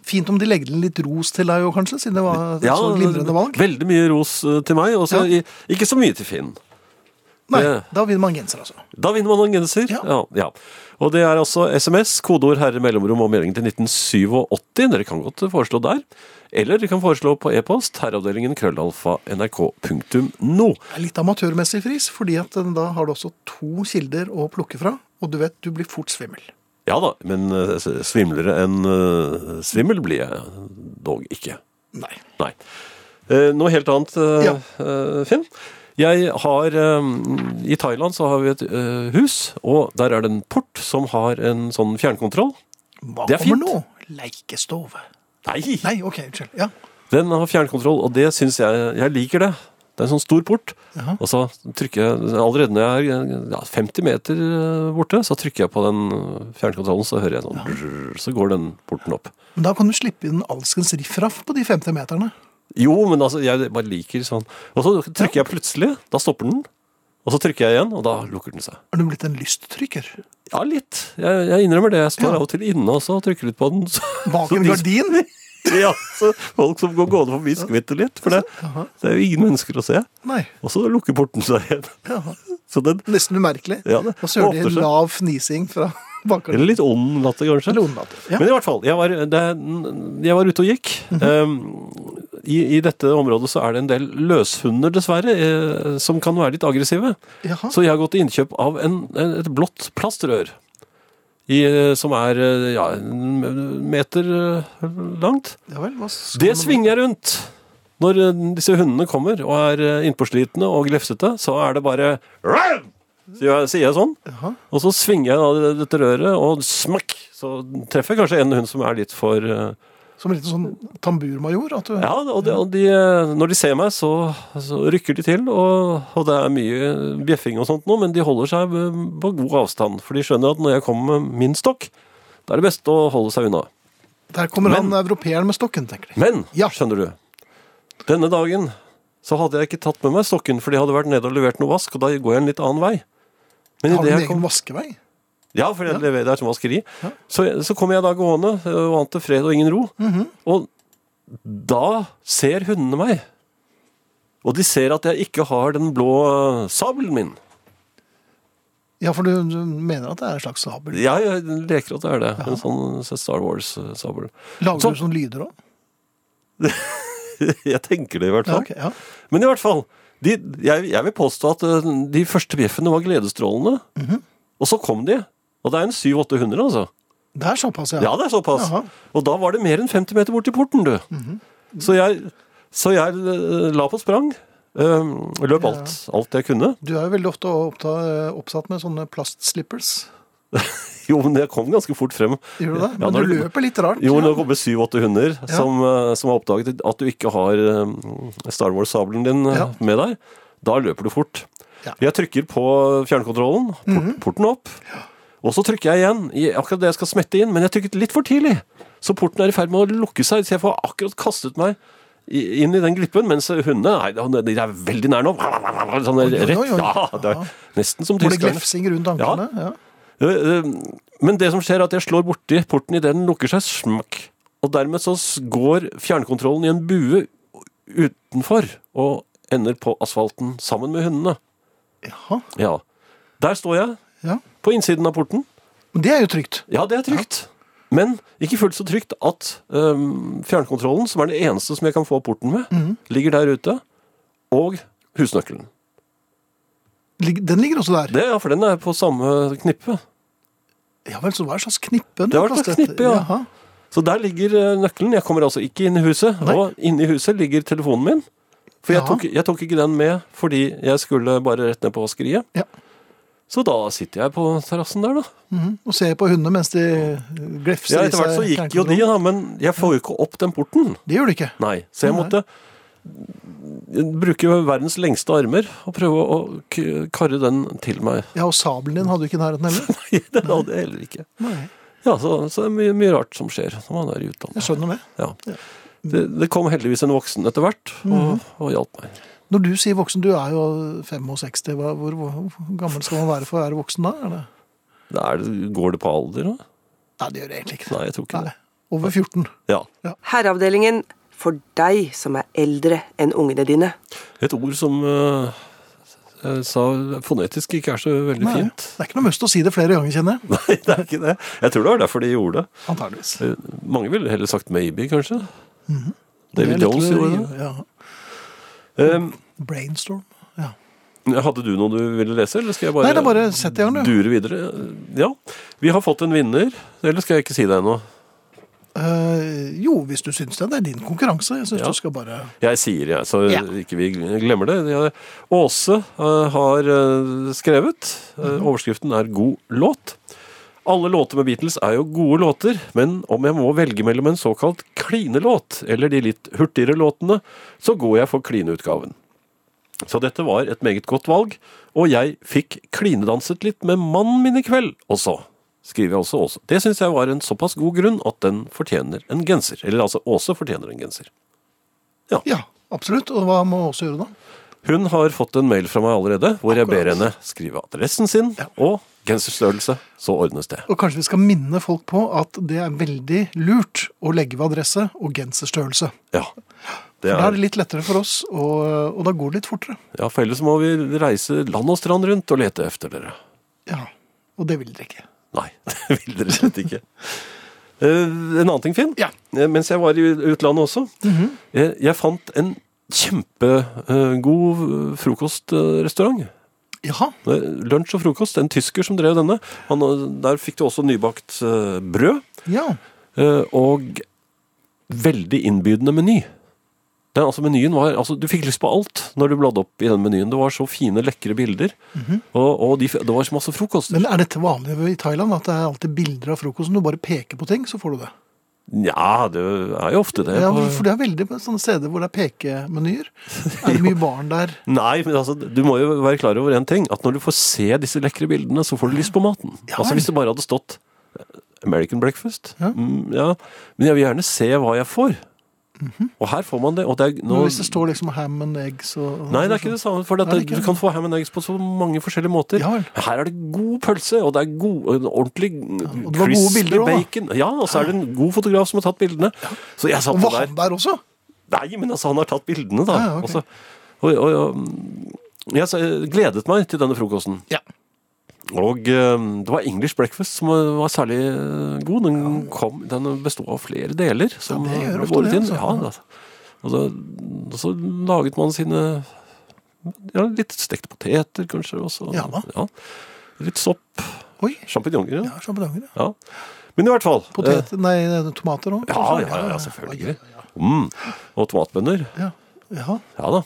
S2: Fint om de legger inn litt ros til deg òg, kanskje, siden det var et så glimrende valg.
S3: veldig mye ros eh, til meg, og så
S2: Ja.
S3: i- ikke så mye til Finn.
S2: Nei,
S3: det-
S2: da vinner man genser, altså.
S3: Da vinner man en genser.
S2: Ja.
S3: Ja. Ja, Og det er altså SMS, kodeord herre mellomrom og melding til 1987. Dere kan godt foreslå der. Eller dere kan foreslå på e-post herreavdelingen krøllalfa nrk.no.
S2: Det er litt amatørmessig fris, fordi at eh, da har du også to kilder å plukke fra. Og du vet, du blir fort svimmel.
S3: Ja da, men eh, s- svimlere enn eh, svimmel blir jeg dog ikke.
S2: Nei.
S3: Nei. Eh, Noe helt annet, eh,
S2: Ja.
S3: eh, Finn. Jeg har eh, I Thailand så har vi et eh, hus, og der er det en port som har en sånn fjernkontroll.
S2: Hva
S3: Det er
S2: kommer
S3: fint.
S2: nå? Leikestove.
S3: Nei!
S2: Nei, OK, unnskyld. Ja.
S3: Den har fjernkontroll, og det syns jeg Jeg liker det. Det er en sånn stor port.
S2: Jaha.
S3: Og så trykker jeg Allerede når jeg er ja, 50 meter eh, borte, så trykker jeg på den fjernkontrollen, så hører jeg sånn drrrr, Så går den porten opp.
S2: Men da kan du slippe inn alskens riffraff på de 50 meterne.
S3: Jo, men altså, jeg bare liker sånn. Og så trykker jeg plutselig. Da stopper den. Og så trykker jeg igjen, og da lukker den seg.
S2: Er du blitt en lysttrykker?
S3: Ja, litt. Jeg, jeg innrømmer det. Jeg står
S2: Ja.
S3: av og til inne også og trykker litt på den. Så,
S2: Bak
S3: så
S2: en
S3: de-
S2: gardin?
S3: Ja, så folk som går gående forbi, skvetter litt. For det, det er jo ingen mennesker å se.
S2: Nei.
S3: Og så lukker porten seg igjen.
S2: Jaha.
S3: Så den
S2: Nesten umerkelig.
S3: Ja, det
S2: Og så hører
S3: åpner
S2: de
S3: seg.
S2: lav fnising fra bakgrunnen.
S3: Eller litt ond latter, kanskje.
S2: Eller ondlatt. Ja. Mhm.
S3: Men i hvert fall, jeg var, det, er- jeg var ute og gikk. Um, i, I dette området så er det en del løshunder, dessverre, eh, som kan være litt aggressive.
S2: Jaha.
S3: Så jeg har gått til innkjøp av en, en, et blått plastrør. I, eh, som er eh, ja, en meter eh, langt.
S2: Ja vel, hva skal
S3: Det
S2: man-
S3: svinger jeg rundt. Når eh, disse hundene kommer og er eh, innpåslitne og glefsete, så er det bare «Rau!» Så jeg- Sier jeg sånn.
S2: Jaha.
S3: Og så svinger jeg da dette røret, og smakk! Så treffer jeg kanskje en hund som er litt for eh,
S2: Som en liten sånn tamburmajor? At du...
S3: Ja, og, de, og de, eh, når de ser meg, så, så rykker de til, og, og det er mye bjeffing og sånt nå, men de holder seg eh, på god avstand. For de skjønner at når jeg kommer med min stokk, da er det best å holde seg unna.
S2: Der kommer
S3: Men-
S2: han europeeren med stokken, tenker de.
S3: Men,
S2: Ja.
S3: skjønner du Denne dagen så hadde jeg ikke tatt med meg stokken For jeg hadde vært nede og levert noe vask Og da går jeg en litt annen vei
S2: Har
S3: Men idet
S2: du en
S3: jeg
S2: egen
S3: kom,
S2: vaskevei?
S3: ja, for jeg leverer der som vaskeri så, så kom jeg da gående ø, Og ante fred og ingen ro
S2: Mhm.
S3: Og da ser hundene meg Og de ser at jeg ikke har den blå ø, sabelen min
S2: Ja, for du, du mener at det er en slags sabel?
S3: Jeg, jeg leker at det er det En sånn Star Wars-sabel
S2: Lager
S3: Så-
S2: du sånne lyder òg?
S3: Jeg tenker det i hvert
S2: Ja,
S3: fall
S2: ok, ja.
S3: Men i hvert fall, de, jeg, jeg vil påstå at eh, de første bjeffene var gledesstrålende.
S2: Mhm.
S3: Og så kom de. Og det er en 700-800, altså.
S2: Det er såpass, ja.
S3: Ja, det er såpass.
S2: Jaha. Mhm.
S3: Og da var det mer enn 50 meter bort til porten, du. Så jeg, så jeg eh, la på sprang. Um, løp alt, alt jeg kunne.
S2: Du er jo veldig ofte oppta, oppsatt med sånne plastslippers.
S3: Jo, men jeg kom ganske fort frem.
S2: Gjør du det?
S3: Ja,
S2: Men
S3: når
S2: du løper litt rart.
S3: Jo, nå kommer 7-8 hunder som, eh, som har oppdaget at du ikke har eh, Star Wars-sabelen din eh,
S2: Ja.
S3: med deg. Da løper du fort.
S2: Ja. Mhm.
S3: Jeg trykker på fjernkontrollen, port, porten opp, og så trykker jeg igjen i akkurat det jeg skal smette inn, men jeg trykket litt for tidlig. Så porten er i ferd med å lukke seg, så jeg får akkurat kastet meg i- inn i den glippen, mens hundene nei, de- de er veldig nær nå. Sånn
S2: oi,
S3: rett,
S2: oi.
S3: ja, det er nesten som
S2: Hvor det
S3: tyskerne.
S2: glefsing rundt anklene. Ja.
S3: Eh, eh, Men det som skjer er at jeg slår borti porten idet den lukker seg, smakk. Og dermed så s- går fjernkontrollen i en bue utenfor og ender på asfalten sammen med hundene.
S2: Jaha.
S3: Ja. Der står jeg,
S2: Ja.
S3: på innsiden av porten.
S2: Men det er jo trygt.
S3: Ja, det er trygt. Men ikke fullt så trygt at øhm, fjernkontrollen, som er det eneste som jeg kan få porten med, ligger der ute. Og husnøkkelen.
S2: Lig- Den ligger også der.
S3: Det, ja, for den er på samme knippe.
S2: Ja vel, så hva er slags knippe? den
S3: Det var
S2: har
S3: et slags
S2: kastet?
S3: knippe, ja.
S2: Jaha.
S3: Så der ligger eh, nøkkelen. Jeg kommer altså ikke inn i huset.
S2: Nei.
S3: Og inne i huset ligger telefonen min. For jeg
S2: Ja.
S3: tok, jeg tok ikke den med fordi jeg skulle bare rett ned på vaskeriet.
S2: Ja.
S3: Så da sitter jeg på terrassen der, da.
S2: Mhm. Og ser på hundene mens de glefser
S3: Ja, etter hvert så gikk jo de, da, men jeg får jo ikke opp den porten.
S2: Det gjør de ikke.
S3: Nei, Så jeg
S2: Nei.
S3: måtte bruke verdens lengste armer og prøve å k- karre den til meg.
S2: Ja, og sabelen din hadde du ikke i nærheten heller.
S3: Nei, det hadde jeg heller ikke.
S2: Nei.
S3: Ja, Så, så det er mye, mye rart som skjer når man er i
S2: Jeg
S3: utlandet.
S2: skjønner det.
S3: Ja. Det, det kom heldigvis en voksen etter hvert og,
S2: Mhm.
S3: og hjalp meg.
S2: Når du sier voksen, du er jo 65, hva- hvor, hvor, hvor gammel skal man være for å være voksen da? Er det?
S3: Det er, går det på alder, da?
S2: Nei, det gjør det egentlig ikke.
S3: Nei, jeg tror ikke
S2: Nei. Over 14.
S3: det. Ja.
S4: Herreavdelingen for deg som er eldre enn ungene dine.
S3: Et ord som eh, jeg sa fonetisk ikke er så veldig
S2: Nei.
S3: fint.
S2: Det er ikke noe must å si det flere ganger, kjenner jeg.
S3: Nei, det er ikke det. Jeg tror det var derfor de gjorde det.
S2: Antageligvis.
S3: Eh, Mange ville heller sagt maybe, kanskje.
S2: Mhm. Det er
S3: David
S2: litt
S3: Jones
S2: å-
S3: gjorde det.
S2: Ja.
S3: Eh,
S2: Brainstorm. Ja.
S3: hadde du noe du ville lese, eller skal jeg bare,
S2: Nei, det er bare sett i gang, du.
S3: dure videre? Ja. Vi har fått en vinner. Eller skal jeg ikke si det ennå?
S2: Eh, jo, hvis du syns det. Det er din konkurranse. Jeg syns
S3: Ja.
S2: du skal bare
S3: Jeg sier jeg, så
S2: Ja.
S3: ikke vi glemmer det. Jeg- Åse eh, har eh, skrevet. Eh, Overskriften er 'God låt'. Alle låter med Beatles er jo gode låter, men om jeg må velge mellom en såkalt klinelåt eller de litt hurtigere låtene, så går jeg for klineutgaven. Så dette var et meget godt valg, og jeg fikk klinedanset litt med mannen min i kveld også. Skriver jeg også Åse. Det syns jeg var en såpass god grunn at den fortjener en genser. Eller altså, Åse fortjener en genser.
S2: Ja, absolutt. Og hva må også gjøre da?
S3: Hun har fått en mail fra meg allerede, hvor jeg ber henne skrive adressen sin
S2: Ja.
S3: og genserstørrelse. Så ordnes det.
S2: Og kanskje vi skal minne folk på at det er veldig lurt å legge ved adresse og genserstørrelse.
S3: Ja. Det
S2: For Da er
S3: er,
S2: det litt lettere for oss, og, og da går det litt fortere.
S3: ja, for ellers må vi reise land og strand rundt og lete efter dere.
S2: Ja, Og det vil dere ikke.
S3: Nei, det vil dere slett ikke. Eh, En annen ting, Finn.
S2: Ja. Mhm.
S3: Eh, Mens jeg var i utlandet også. eh, Jeg fant en kjempegod eh, frokostrestaurant.
S2: Jaha.
S3: Eh, Lunsj og frokost. En tysker som drev denne. Han, eh, der fikk du også nybakt eh, brød.
S2: Ja.
S3: Eh, og veldig innbydende meny. Den, altså, menyen var, altså, du fikk lyst på alt når du bladde opp i den menyen. Det var så fine, lekre bilder. Og, og de, f- det var så masse frokost.
S2: Mhm. Men er dette vanlig i Thailand? At det er alltid bilder av frokosten? Du bare peker på ting, så får du det.
S3: Nja, det er jo ofte det.
S2: Ja,
S3: på-
S2: For det er veldig på sånne steder hvor det er pekemenyer. Er det mye barn der?
S3: Nei, men altså, du må jo være klar over én ting. At når du får se disse lekre bildene, så får du lyst på maten.
S2: Ja,
S3: altså
S2: vel.
S3: Hvis det bare hadde stått eh, American breakfast. Mm, ja. Men jeg vil gjerne se hva jeg får. Og her får man det. Og det er,
S2: Mhm.
S3: nå,
S2: Men hvis det står liksom ham and eggs og
S3: Nei, det er ikke det samme. For
S2: Nei, det er
S3: dette,
S2: ikke
S3: du
S2: det.
S3: kan få ham and eggs på så mange forskjellige måter.
S2: Ja vel.
S3: Her er det god pølse, og det er god, en ordentlig
S2: og det var gode
S3: crispy
S2: bilder også, da.
S3: bacon. Ja, og så er det en god fotograf som har tatt bildene. Så jeg satt
S2: Og
S3: jo
S2: var
S3: der.
S2: han der også?
S3: Nei, men altså, han har tatt bildene, da.
S2: Ja, ja, ok.
S3: Og så- og, og, og, mm, jeg sa- gledet meg til denne frokosten.
S2: Ja.
S3: Og eh, det var English breakfast som var særlig eh, god. Den, kom, den bestod av flere deler. Som
S2: det gjør
S3: ble
S2: ofte
S3: båret
S2: det,
S3: inn.
S2: altså.
S3: Ja, da. og så, og så laget man sine ja, litt stekte poteter, kanskje. Også.
S2: Ja da.
S3: Litt sopp.
S2: Oi.
S3: Sjampinjonger.
S2: Ja,
S3: Ja.
S2: sjampinjonger. ja.
S3: Ja. Men i hvert fall eh,
S2: Potet, nei, tomater òg?
S3: Ja, ja, ja, selvfølgelig. Mm. Og tomatbønner.
S2: Ja, ja.
S3: Ja da.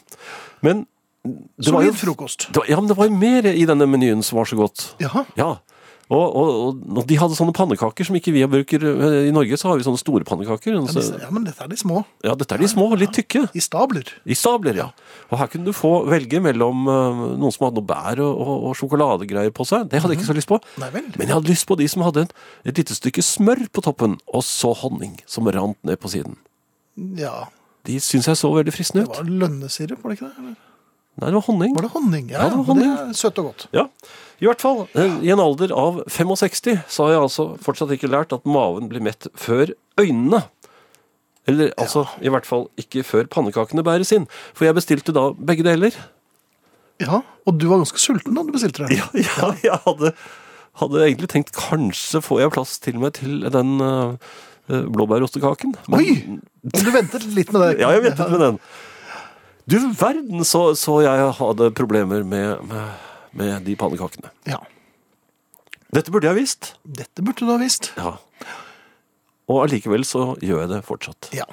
S3: Men det var jo
S2: Solid frokost.
S3: det var, ja, men det var jo mer i denne menyen som var så godt.
S2: Jaha.
S3: Ja. Og, og, og de hadde sånne pannekaker som ikke vi bruker eh, I Norge så har vi sånne store pannekaker.
S2: Ja,
S3: Så,
S2: disse- ja, men dette er de små.
S3: ja, dette er de små, litt tykke.
S2: I stabler.
S3: I stabler, ja. Og her kunne du få velge mellom eh, noen som hadde noe bær og, og, og sjokoladegreier på seg. Det hadde jeg ikke så lyst på.
S2: Mhm. Nei vel.
S3: Men jeg hadde lyst på de som hadde en, et lite stykke smør på toppen, og så honning som rant ned på siden.
S2: Ja.
S3: De syns jeg så veldig fristende
S2: Det
S3: ut.
S2: var lønnesirup, var det ikke det? Eller?
S3: Nei, det var honning.
S2: Var det honning?
S3: Ja, det var honning.
S2: er søtt og godt.
S3: Ja. I hvert fall, eh, i en alder av 65 så har jeg altså fortsatt ikke lært at maven blir mett før øynene. Eller altså, i hvert fall ikke før pannekakene bæres inn. For jeg bestilte da begge deler.
S2: Ja, Og du var ganske sulten da du bestilte det.
S3: Ja, ja jeg hadde, hadde egentlig tenkt kanskje får jeg plass til meg til den eh, eh, blåbærostekaken. Men-
S2: Oi! Men du ventet litt med det.
S3: Ja, jeg ventet med den. Du verden, så, så jeg hadde problemer med, med, med de pannekakene.
S2: Ja.
S3: Dette burde jeg visst.
S2: Dette burde du ha visst.
S3: Ja. Og allikevel så gjør jeg det fortsatt.
S2: Ja.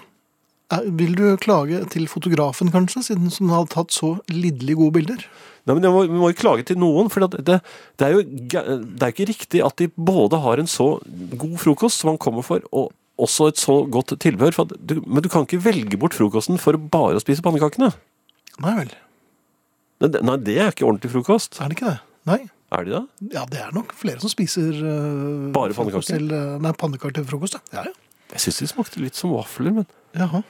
S2: Er- Vil du klage til fotografen, kanskje, siden som har tatt så lidderlig gode bilder?
S3: Nei, men jeg må, Vi må jo klage til noen, for at det, det er jo ga- det er ikke riktig at de både har en så god frokost som man kommer for, og også et så godt tilbehør. For at du, men du kan ikke velge bort frokosten for bare å spise pannekakene.
S2: Nei vel.
S3: Det- det- Nei, det er ikke ordentlig frokost.
S2: Er det ikke det? Nei.
S3: Er de det?
S2: Ja, det er nok flere som spiser eh,
S3: Bare
S2: frokost
S3: pannekaker?
S2: Til, eh, nei, pannekaker til frokost, ja. ja, ja.
S3: Jeg syns de smakte litt som vafler, men
S2: Jaha.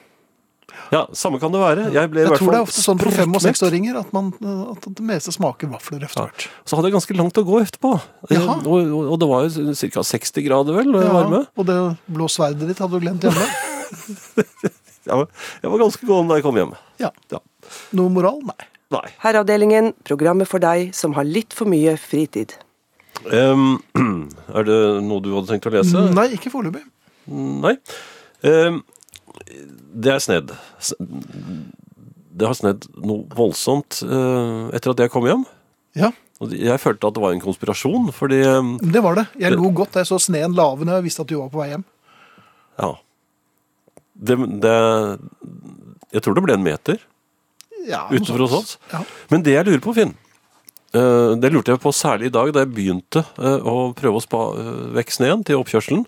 S3: Ja, samme kan det være. Jeg ble i
S2: Jeg
S3: hvert
S2: tror det
S3: fall
S2: er ofte sånn for
S3: sprøkmett.
S2: fem- og seksåringer at, man, eh, at det meste smaker vafler etter hvert.
S3: Så hadde jeg ganske langt å gå etterpå.
S2: Jaha.
S3: Og, og, og det var jo ca. 60 grader, vel, og jeg varme.
S2: og det blå sverdet ditt hadde du glemt hjemme.
S3: Jeg var, jeg var ganske gåen da jeg kom hjem.
S2: Ja.
S3: Ja.
S2: Noe moral? Nei.
S3: Nei.
S4: Herreavdelingen, programmet for deg som har litt for mye fritid.
S3: Ehm, er det noe du hadde tenkt å lese?
S2: Nei, ikke foreløpig.
S3: Nei. Ehm, det er snedd. S- Det har snedd noe voldsomt eh, etter at jeg kom hjem.
S2: Ja,
S3: Og Jeg følte at det var en konspirasjon, fordi ehm,
S2: det var det. Jeg lo godt da jeg så sneen lave når jeg visste at du var på vei hjem.
S3: Ja. Det, det Jeg tror det ble en meter
S2: Ja, noe
S3: utenfor hos
S2: sånt.
S3: oss.
S2: Ja.
S3: Men det jeg lurer på, Finn eh, Det lurte jeg på særlig i dag, da jeg begynte eh, å prøve å spa eh, vekk sneen til oppkjørselen.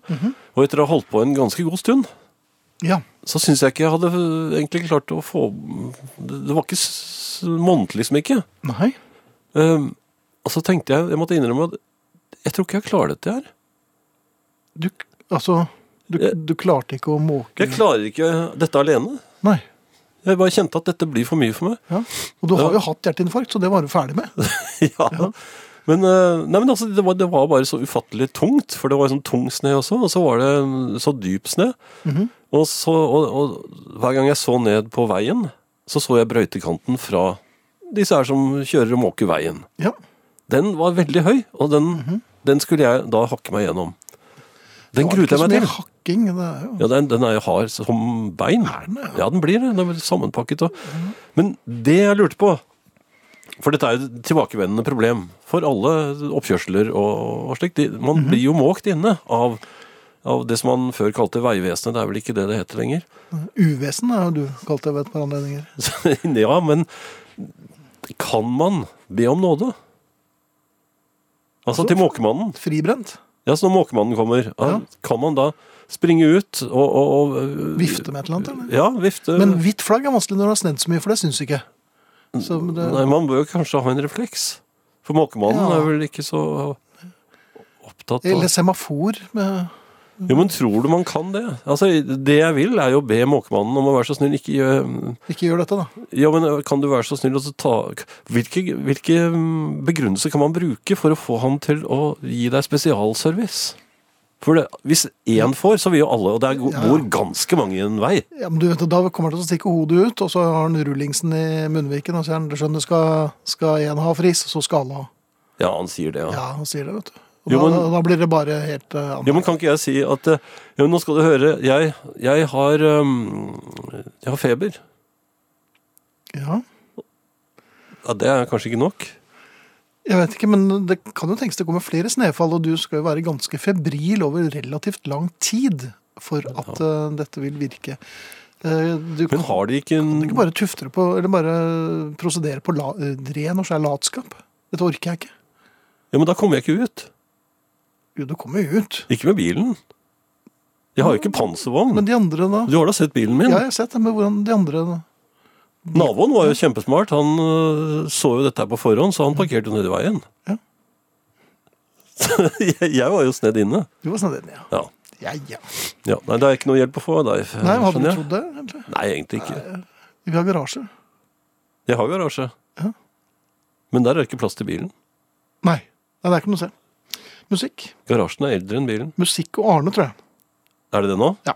S3: Og etter å ha holdt på en ganske god stund,
S2: Ja.
S3: så syns jeg ikke jeg hadde eh, egentlig klart å få Det det var ikke s- månedlig smikke.
S2: Nei.
S3: Uh, og så tenkte jeg Jeg måtte innrømme at jeg tror ikke jeg klarer dette her.
S2: Du, altså, du,
S3: Jeg-
S2: du klarte ikke å måke
S3: Jeg klarer ikke dette alene.
S2: Nei.
S3: Jeg bare kjente at dette blir for mye for meg.
S2: Ja. Og du har jo hatt hjerteinfarkt, så det var du ferdig med.
S3: ja. Men, eh, nei, men altså, det, var, det var bare så ufattelig tungt, for det var sånn tung snø også, og så var det mm, så dyp snø.
S2: Mhm.
S3: og, så, og, og hver gang jeg så ned på veien, så så jeg brøytekanten fra disse her som kjører og måker veien.
S2: Ja.
S3: Den var veldig høy, og den, den skulle jeg da hakke meg gjennom. Den
S2: Mhm. Det var
S3: gruet
S2: ikke
S3: jeg
S2: så
S3: meg
S2: mye
S3: til.
S2: Hakking, det er jo.
S3: Ja, den, den er jo hard som bein. ja. den blir det. Den er sammenpakket. Og... Men det jeg lurte på For dette er jo et tilbakevendende problem for alle oppkjørsler og, og slikt. De- Man blir jo måkt inne av, av det som man før kalte Vegvesenet. Det er vel ikke det det heter lenger.
S2: Uvesen er jo du kalt det ved et par anledninger.
S3: Så, ja, men kan man be om nåde? Altså til måkemannen.
S2: Fribrent.
S3: Ja, så når måkemannen kommer,
S2: Ja.
S3: kan man da springe ut og, og, og
S2: Vifte med et eller annet, eller?
S3: Ja, vifte.
S2: Men hvitt flagg er vanskelig når det har snedd så mye, for det syns ikke.
S3: Mm.
S2: Så det,
S3: Nei, man bør jo kanskje ha en refleks. For måkemannen
S2: Ja.
S3: er vel ikke så opptatt av
S2: eller semafor med
S3: Jo, men tror du man kan det? Altså, Det jeg vil, er jo å be måkemannen om å være så snill ikke gjø-
S2: Ikke gjør dette, da.
S3: Ja, men øh, kan du være så snill å ta Hvilke, hvilke begrunnelser kan man bruke for å få han til å gi deg spesialservice? For det, hvis én får, så vil jo alle Og det er, go-
S2: Ja.
S3: bor ganske mange i en vei.
S2: Ja, men du vet, Da kommer han til å stikke hodet ut, og så har han rullingsen i munnviken, og så sier han du skjønner, skal, skal en ha fris, så skal alle ha.
S3: Ja, han sier det, ja.
S2: Ja, han sier det, vet du. Og da,
S3: Jo, men-
S2: da blir det bare helt uh,
S3: Ja, men Kan ikke jeg si at eh, ja, men Nå skal du høre, jeg, jeg, har, um, jeg har feber.
S2: ja.
S3: Ja, Det er kanskje ikke nok?
S2: Jeg vet ikke, men det kan jo tenkes det kommer flere snefall, og du skal jo være ganske febril over relativt lang tid for at eh, dette vil virke. Eh, du
S3: Men har de ikke en
S2: Kan du ikke bare tufte det på, eller bare prosedere på la, eh, ren og skjær latskap? Dette orker jeg ikke.
S3: Ja, men Da kommer jeg ikke ut.
S2: Jo, du kommer jo ut.
S3: Ikke med bilen. Jeg har jo ikke panservogn.
S2: Men de andre, da?
S3: Du har da sett bilen min?
S2: Ja, jeg har sett det, men hvordan de andre da?
S3: Naboen var jo kjempesmart. Han øh, så jo dette her på forhånd, så han parkerte nedi veien.
S2: Ja.
S3: Så jeg, jeg var jo snedd inne.
S2: Du var snedig, ja.
S3: Ja.
S2: Ja, ja.
S3: ja. Nei, det er ikke noe hjelp å få av deg.
S2: Nei, hadde du
S3: skjønner jeg.
S2: trodd det, egentlig?
S3: Nei, egentlig ikke.
S2: Vi har garasje.
S3: Jeg har garasje.
S2: Ja.
S3: Men der er det ikke plass til bilen.
S2: Nei. Nei, det er ikke noe å se. Musikk.
S3: Garasjen er eldre enn bilen.
S2: Musikk og Arne, tror jeg.
S3: Er det det nå?
S2: Ja.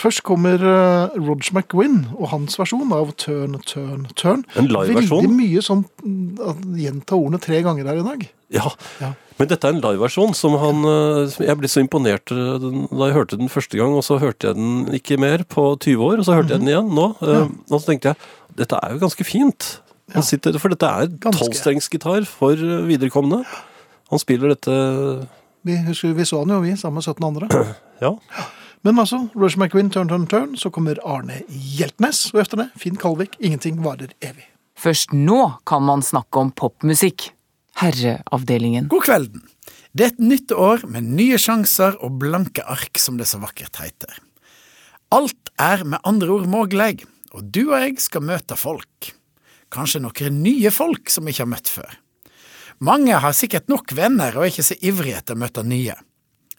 S2: Først kommer eh, Roger McGuinn og hans versjon av Turn, Turn, Turn.
S3: En liveversjon?
S2: Veldig mye sånn mm, at gjenta ordene tre ganger her i dag.
S3: Ja.
S2: Ja.
S3: Men dette er en liveversjon som han øh, som Jeg ble så imponert øh, den- da jeg hørte den første gang, og så hørte jeg den ikke mer på 20 år, og så hørte jeg den igjen nå. øh, Og så tenkte jeg dette er jo ganske fint. Han sitter, for dette er
S2: Ganske.
S3: tolvstrengsgitar for øh, viderekomne. Han spiller dette
S2: Vi husker vi så han jo, vi, sammen med 17 andre.
S3: Ja.
S2: Men altså, Roger McGuinn, Turn, Turn, Turn. Så kommer Arne Hjeltnes, og etter det Finn Kalvik. Ingenting varer evig.
S8: Først nå kan man snakke om popmusikk. Herreavdelingen.
S9: God kvelden. Det er et nytt år med nye sjanser og blanke ark, som det så vakkert heter. Alt er med andre ord mulig, og du og jeg skal møte folk. Kanskje noen nye folk som vi ikke har møtt før. Mange har sikkert nok venner og er ikke så ivrige etter å møte nye.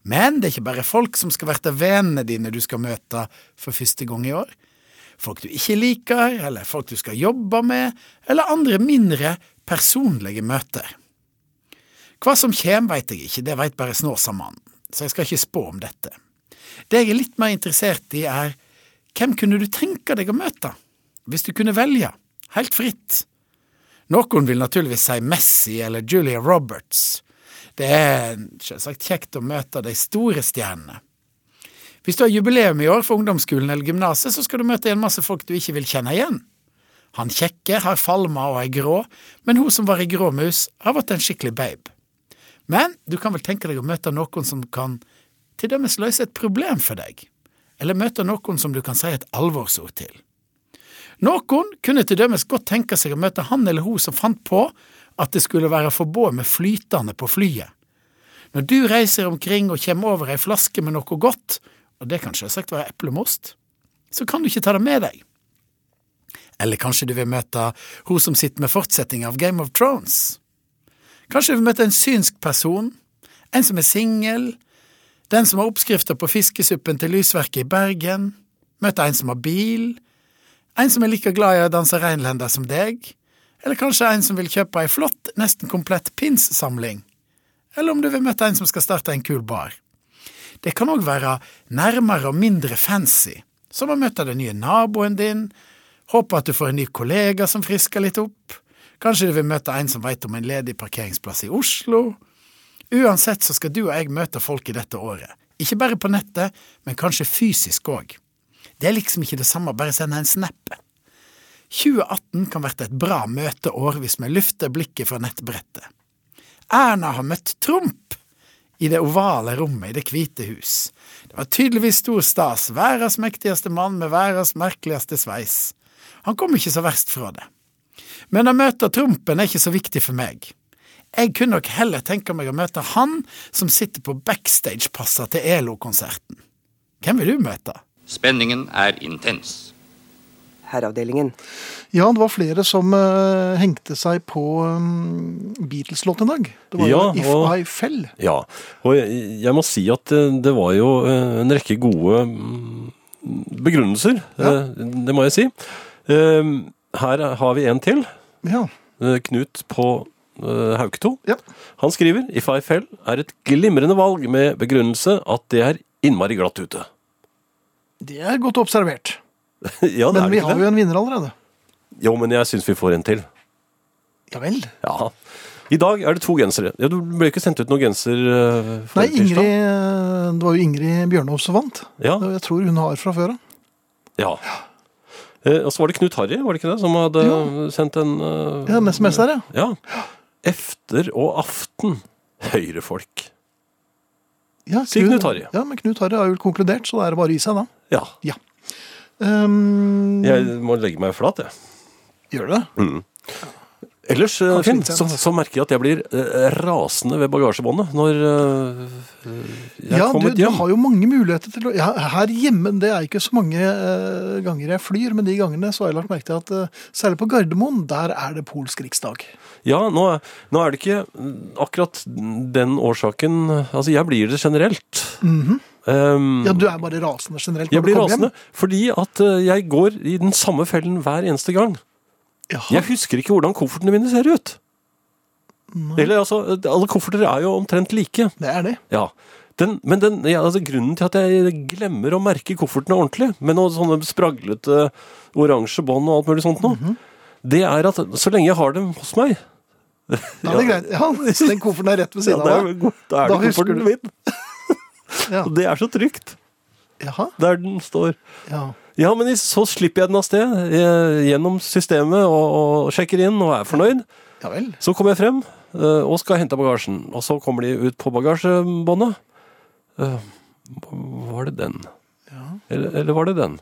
S9: Men det er ikke bare folk som skal være vennene dine du skal møte for første gang i år. Folk du ikke liker, eller folk du skal jobbe med, eller andre mindre personlige møter. Hva som kjem veit jeg ikke, det veit bare Snåsamannen, så jeg skal ikke spå om dette. Det jeg er litt mer interessert i, er hvem kunne du tenke deg å møte, hvis du kunne velge, helt fritt? Noen vil naturligvis si Messi eller Julia Roberts. Det er selvsagt kjekt å møte de store stjernene. Hvis du har jubileum i år for ungdomsskolen eller gymnaset, så skal du møte en masse folk du ikke vil kjenne igjen. Han kjekke har falma og er grå, men hun som var i gråmus, har vært en skikkelig babe. Men du kan vel tenke deg å møte noen som kan til dømes løse et problem for deg, eller møte noen som du kan si et alvorsord til. Noen kunne til dømes godt tenke seg å møte han eller hun som fant på at det skulle være forbudt med flytende på flyet. Når du reiser omkring og kommer over ei flaske med noe godt, og det kan selvsagt være eplemost, så kan du ikke ta det med deg. Eller kanskje du vil møte hun som sitter med fortsetning av Game of Thrones? Kanskje du vil møte en synsk person? En som er singel? Den som har oppskrifter på fiskesuppen til lysverket i Bergen? Møte en som har bil? En som er like glad i å danse reinlender som deg? Eller kanskje en som vil kjøpe ei flott, nesten komplett pinssamling? Eller om du vil møte en som skal starte en kul bar? Det kan òg være nærmere og mindre fancy, som å møte den nye naboen din, håpe at du får en ny kollega som frisker litt opp, kanskje du vil møte en som veit om en ledig parkeringsplass i Oslo. Uansett så skal du og jeg møte folk i dette året, ikke bare på nettet, men kanskje fysisk òg. Det er liksom ikke det samme, bare sende en snap. 2018 kan bli et bra møteår hvis vi løfter blikket fra nettbrettet. Erna har møtt Trump! i det ovale rommet i Det hvite hus. Det var tydeligvis stor stas, verdens mektigste mann med verdens merkeligste sveis. Han kom ikke så verst fra det. Men å møte Trumpen er ikke så viktig for meg. Jeg kunne nok heller tenke meg å møte han som sitter på backstage-passa til ELO-konserten. Hvem vil du møte?
S7: Spenningen er intens.
S4: Herreavdelingen.
S2: Ja, det var flere som eh, hengte seg på um, Beatles-låten i dag. Det var
S3: Ja,
S2: jo If
S3: og-
S2: I Fell.
S3: Ja. Og jeg, jeg må si at eh, det var jo eh, en rekke gode mm, begrunnelser.
S2: Ja.
S3: eh, Det må jeg si. Eh, Her har vi en til.
S2: Ja.
S3: Eh, Knut på eh, Hauketo.
S2: Ja.
S3: Han skriver If I Fell er et glimrende valg med begrunnelse at det er innmari glatt ute.
S2: Det er godt observert.
S3: ja, det
S2: Men
S3: er
S2: vi
S3: det ikke
S2: har
S3: det.
S2: jo en vinner allerede.
S3: Jo, men jeg syns vi får en til.
S2: Ja vel.
S3: Ja. I dag er det to gensere. Ja, du ble ikke sendt ut noen genser eh,
S2: Nei,
S3: forrige
S2: Ingrid, eh, det var jo Ingrid Bjørnov som vant.
S3: Ja.
S2: Og Jeg tror hun har fra før av.
S3: Ja. Eh, og så var det Knut Harry, var det ikke det, som hadde sendt en eh,
S2: Ja, en SMS der, ja.
S3: ja. Efter og aften, Høyrefolk.
S2: Ja,
S3: Si Knut Harry.
S2: Ja, men Knut Harry har jo konkludert, så da er det bare å gi seg da. Ehm,
S3: Ja.
S2: Ja. Um,
S3: Jeg må legge meg flat, jeg.
S2: Gjør det?
S3: Ellers, eh,
S2: Kanskje
S3: Finn,
S2: ikke
S3: så,
S2: sant.
S3: så merker jeg at jeg blir eh, rasende ved bagasjebåndet når eh, jeg
S2: Ja,
S3: er
S2: du,
S3: kommet
S2: du
S3: hjem.
S2: har jo mange muligheter til å ja, Her hjemme, det er ikke så mange eh, ganger jeg flyr, men de gangene så har jeg lagt merke til at eh, særlig på Gardermoen, der er det polsk riksdag.
S3: Ja, nå, er- nå er det ikke mm, akkurat den årsaken Altså, jeg blir det generelt. Ehm,
S2: Ja, du er bare rasende generelt.
S3: jeg
S2: når Mhm. du
S3: blir
S2: kommer hjem.
S3: rasende fordi at eh, jeg går i den samme fellen hver eneste gang.
S2: Jaha.
S3: Jeg husker ikke hvordan koffertene mine ser ut. Eller altså, Alle kofferter er jo omtrent like.
S2: Det er det.
S3: Ja. Den, men den, ja, altså, grunnen til at jeg glemmer å merke koffertene ordentlig, med noen sånne spraglete oransje bånd og alt mulig sånt nå,
S2: Mhm.
S3: det er at så lenge jeg har dem hos meg
S2: Da er det greit. Ja, hvis den kofferten er rett ved
S3: ja,
S2: siden
S3: da,
S2: av
S3: er,
S2: deg.
S3: det- da er
S2: Da
S3: det
S2: husker
S3: kofferten
S2: du.
S3: min.
S2: Ja.
S3: Og det er så trygt,
S2: Jaha.
S3: der den står.
S2: Ja.
S3: Ja, men i- så slipper jeg den av sted eh, gjennom systemet og, og sjekker inn og er fornøyd.
S2: ja vel.
S3: Så kommer jeg frem eh, og skal hente bagasjen. Og så kommer de ut på bagasjebåndet. Eh, var det den? Eller, eller var det den?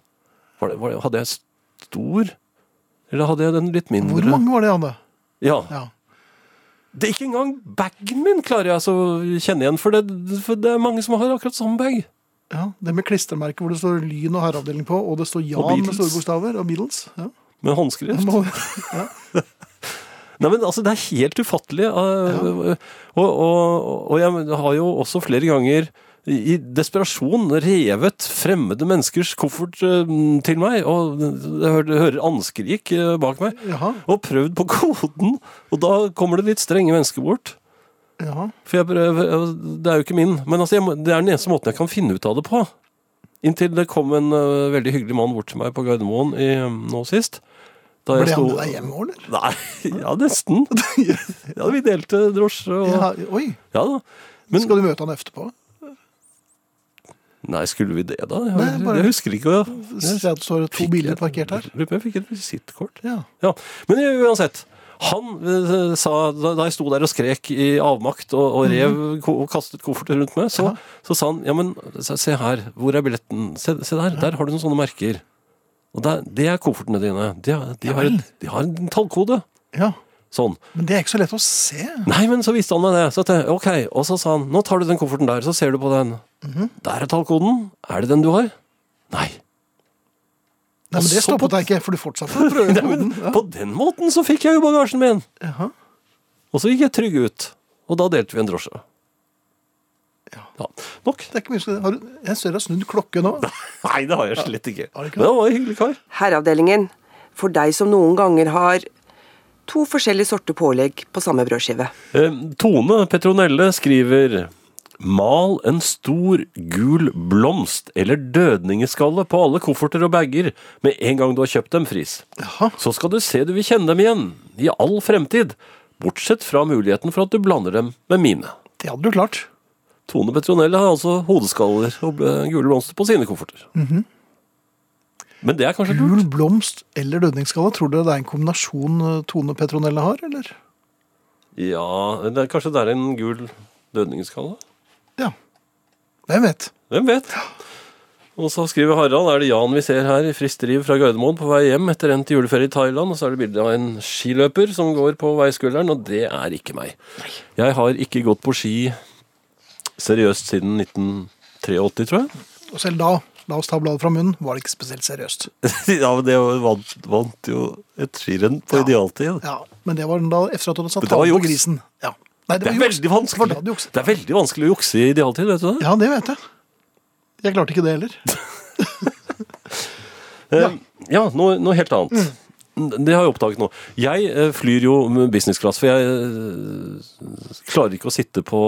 S3: Var det, var det, hadde jeg stor? Eller hadde jeg den litt mindre?
S2: Hvor mange var det, Anne?
S3: Ja.
S2: Ja.
S3: Det er ikke engang bagen min klarer jeg altså å kjenne igjen, for det, for det er mange som har akkurat samme bag.
S2: ja. Det med klistremerket hvor det står Lyn og herreavdeling på, og det står
S3: Og
S2: Jan med
S3: Beatles.
S2: store bokstaver, og Beatles. Ja.
S3: Med håndskrift.
S2: Må-
S3: Nei, men altså, det er helt ufattelig. eh, Og, og, og jeg har jo også flere ganger i i desperasjon revet fremmede menneskers koffert eh, til meg, og jeg hører, hører anskrik eh, bak meg,
S2: Jaha.
S3: og prøvd på koden, og da kommer det litt strenge mennesker bort.
S2: Jaha.
S3: For jeg prøver, det er jo ikke min, men altså, jeg, må- det er den eneste måten jeg kan finne ut av det på. Inntil det kom en eh, veldig hyggelig mann bort til meg på Gardermoen i, nå sist. Da
S2: Ble
S3: jeg
S2: han
S3: sto-
S2: med deg hjem òg, eller?
S3: Nei, ja, nesten. Ja, vi delte drosje og
S2: Ja,
S3: Ja,
S2: oi.
S3: da. Men
S2: Skal du møte han etterpå?
S3: Nei, skulle vi det, da? Jeg,
S2: Nei, bare-
S3: jeg husker ikke.
S2: Se at det står to biler parkert her.
S3: Lurer på om jeg fikk et visittkort.
S2: Ja.
S3: Ja. Men eh, uansett. Han eh, sa, da da jeg sto der og skrek i avmakt og, og rev
S2: Mhm.
S3: ko- og kastet kofferter rundt meg, så, så sa han ja, men se se her, hvor er billetten? Se, se der, der har du noen sånne merker. Og der, det er koffertene dine. De, har- de, har et, de har en tallkode.
S2: ja.
S3: Sånn.
S2: Men det er ikke så lett å se.
S3: Nei, men så viste han meg det. Så tenkte jeg, ok, Og så sa han nå tar du den kofferten der, så ser du på den.
S2: Mhm.
S3: Der er tallkoden. Er det den du har? Nei.
S2: Nei, men Det
S3: Så
S2: stoppet
S3: på-
S2: deg ikke, for du fortsatte å prøve
S3: Nei, men
S2: koden. Ja.
S3: På den måten så fikk jeg jo bagasjen min!
S2: Jaha.
S3: Og så gikk jeg trygg ut. Og da delte vi en drosje.
S2: Ja.
S3: Ja. Nok.
S2: Det er ikke mye som- har du, jeg ser du har snudd klokke nå.
S3: Nei, det har jeg slett ikke.
S2: Har du ikke?
S3: Men han var en hyggelig kar.
S4: Herreavdelingen, for deg som noen ganger har to forskjellige sorter pålegg på samme brødskive.
S3: Eh, Tone Petronelle skriver Mal en stor gul blomst eller dødningeskalle på alle kofferter og bager med en gang du har kjøpt dem, Friis. Så skal du se du vil kjenne dem igjen, i all fremtid. Bortsett fra muligheten for at du blander dem med mine.
S2: Det hadde du klart.
S3: Tone Petronelle har altså hodeskaller og eh, gule blomster på sine kofferter. Men det er kanskje lurt?
S2: Gul blomst eller dødningsskalle. Tror du det er en kombinasjon eh, Tone Petronella har, eller?
S3: Ja, det er, kanskje det er en gul dødningeskalle?
S2: Ja. Hvem vet?
S3: Hvem vet? Og så skriver Harald er det Jan vi ser her i friskt driv fra Gardermoen på vei hjem etter endt juleferie i Thailand. Og så er det bilde av en skiløper som går på veiskulderen, og det er ikke meg. Jeg har ikke gått på ski seriøst siden 1983, tror jeg.
S2: Og selv da, la oss ta bladet fra munnen, var det ikke spesielt seriøst.
S3: ja, men det vant, vant jo et skirenn på idealtid.
S2: Ja, Men det var da efter at du hadde satt
S3: Men det var
S2: halen på
S3: juks.
S2: grisen. Ja. Nei,
S3: Det
S2: var
S3: er
S2: juks.
S3: veldig
S2: Det var
S3: vanskelig.
S2: da du jukset.
S3: Det er veldig vanskelig å jukse i idealtid, vet du det?
S2: Ja, det vet jeg. Jeg klarte ikke det heller.
S3: Eh, ja, noe, noe helt annet. Det har jeg oppdaget nå. Jeg eh, flyr jo med business class, for jeg eh, klarer ikke å sitte på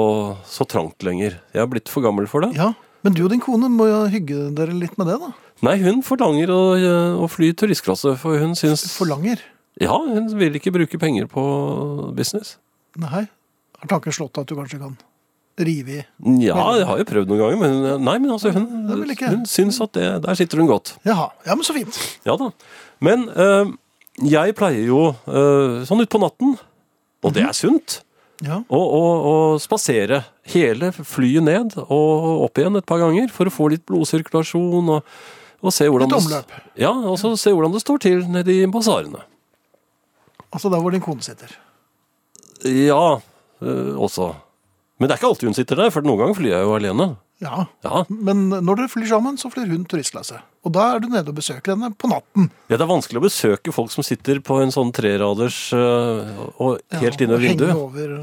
S3: så trangt lenger. Jeg er blitt for gammel for det.
S2: Ja, Men du og din kone må jo hygge dere litt med det, da.
S3: Nei, hun forlanger å, eh, å fly turistklasse, for hun syns
S2: Forlanger.
S3: Ja, hun vil ikke bruke penger på business.
S2: Nei. Har tanken slått deg at du kanskje kan rive i
S3: Ja, jeg har jo prøvd noen ganger, men nei, men altså, hun,
S2: det vil ikke.
S3: hun syns at det, der sitter hun godt.
S2: Jaha. Ja, men så fint.
S3: Ja da. Men eh, jeg pleier jo eh, sånn utpå natten, og det er sunt,
S2: Ja.
S3: å, å, å spasere hele flyet ned og opp igjen et par ganger for å få litt blodsirkulasjon og, og se hvordan
S2: Litt
S3: det-
S2: omløp.
S3: Ja, og så se hvordan det står til nede i basarene.
S2: Altså der hvor din kone sitter.
S3: Ja, eh, også. Men det er ikke alltid hun sitter der, for noen ganger flyr jeg jo alene.
S2: Ja.
S3: Ja,
S2: Men når dere flyr sammen, så flyr hun turistklasse. Og da er du nede og besøker henne på natten.
S3: ja Det er vanskelig å besøke folk som sitter på en sånn treraders eh, og helt
S2: Ja,
S3: inne
S2: og
S3: ved vinduet.
S2: Henge over,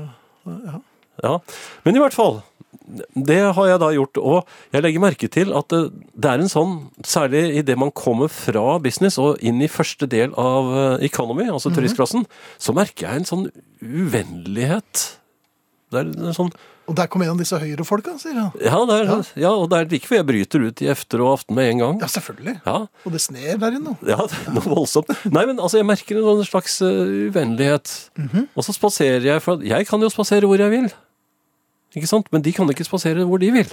S2: ja.
S3: Ja, men i hvert fall. Det har jeg da gjort, og jeg legger merke til at det, det er en sånn, særlig idet man kommer fra business og inn i første del av eh, economy, altså turistklassen, så merker jeg en sånn uvennlighet. Det er en sånn,
S2: Og der kom en av disse høyrefolka, sier han.
S3: ja, det er, ja. og det er like før jeg bryter ut i efter og aften med en gang.
S2: Ja, selvfølgelig.
S3: Ja,
S2: Og det sner der inne.
S3: ja, det er noe voldsomt. Nei, men altså, jeg merker en sånn slags eh, uvennlighet. Og så spaserer jeg, for jeg kan jo spasere hvor jeg vil. Ikke sant? Men de kan ikke spasere hvor de vil.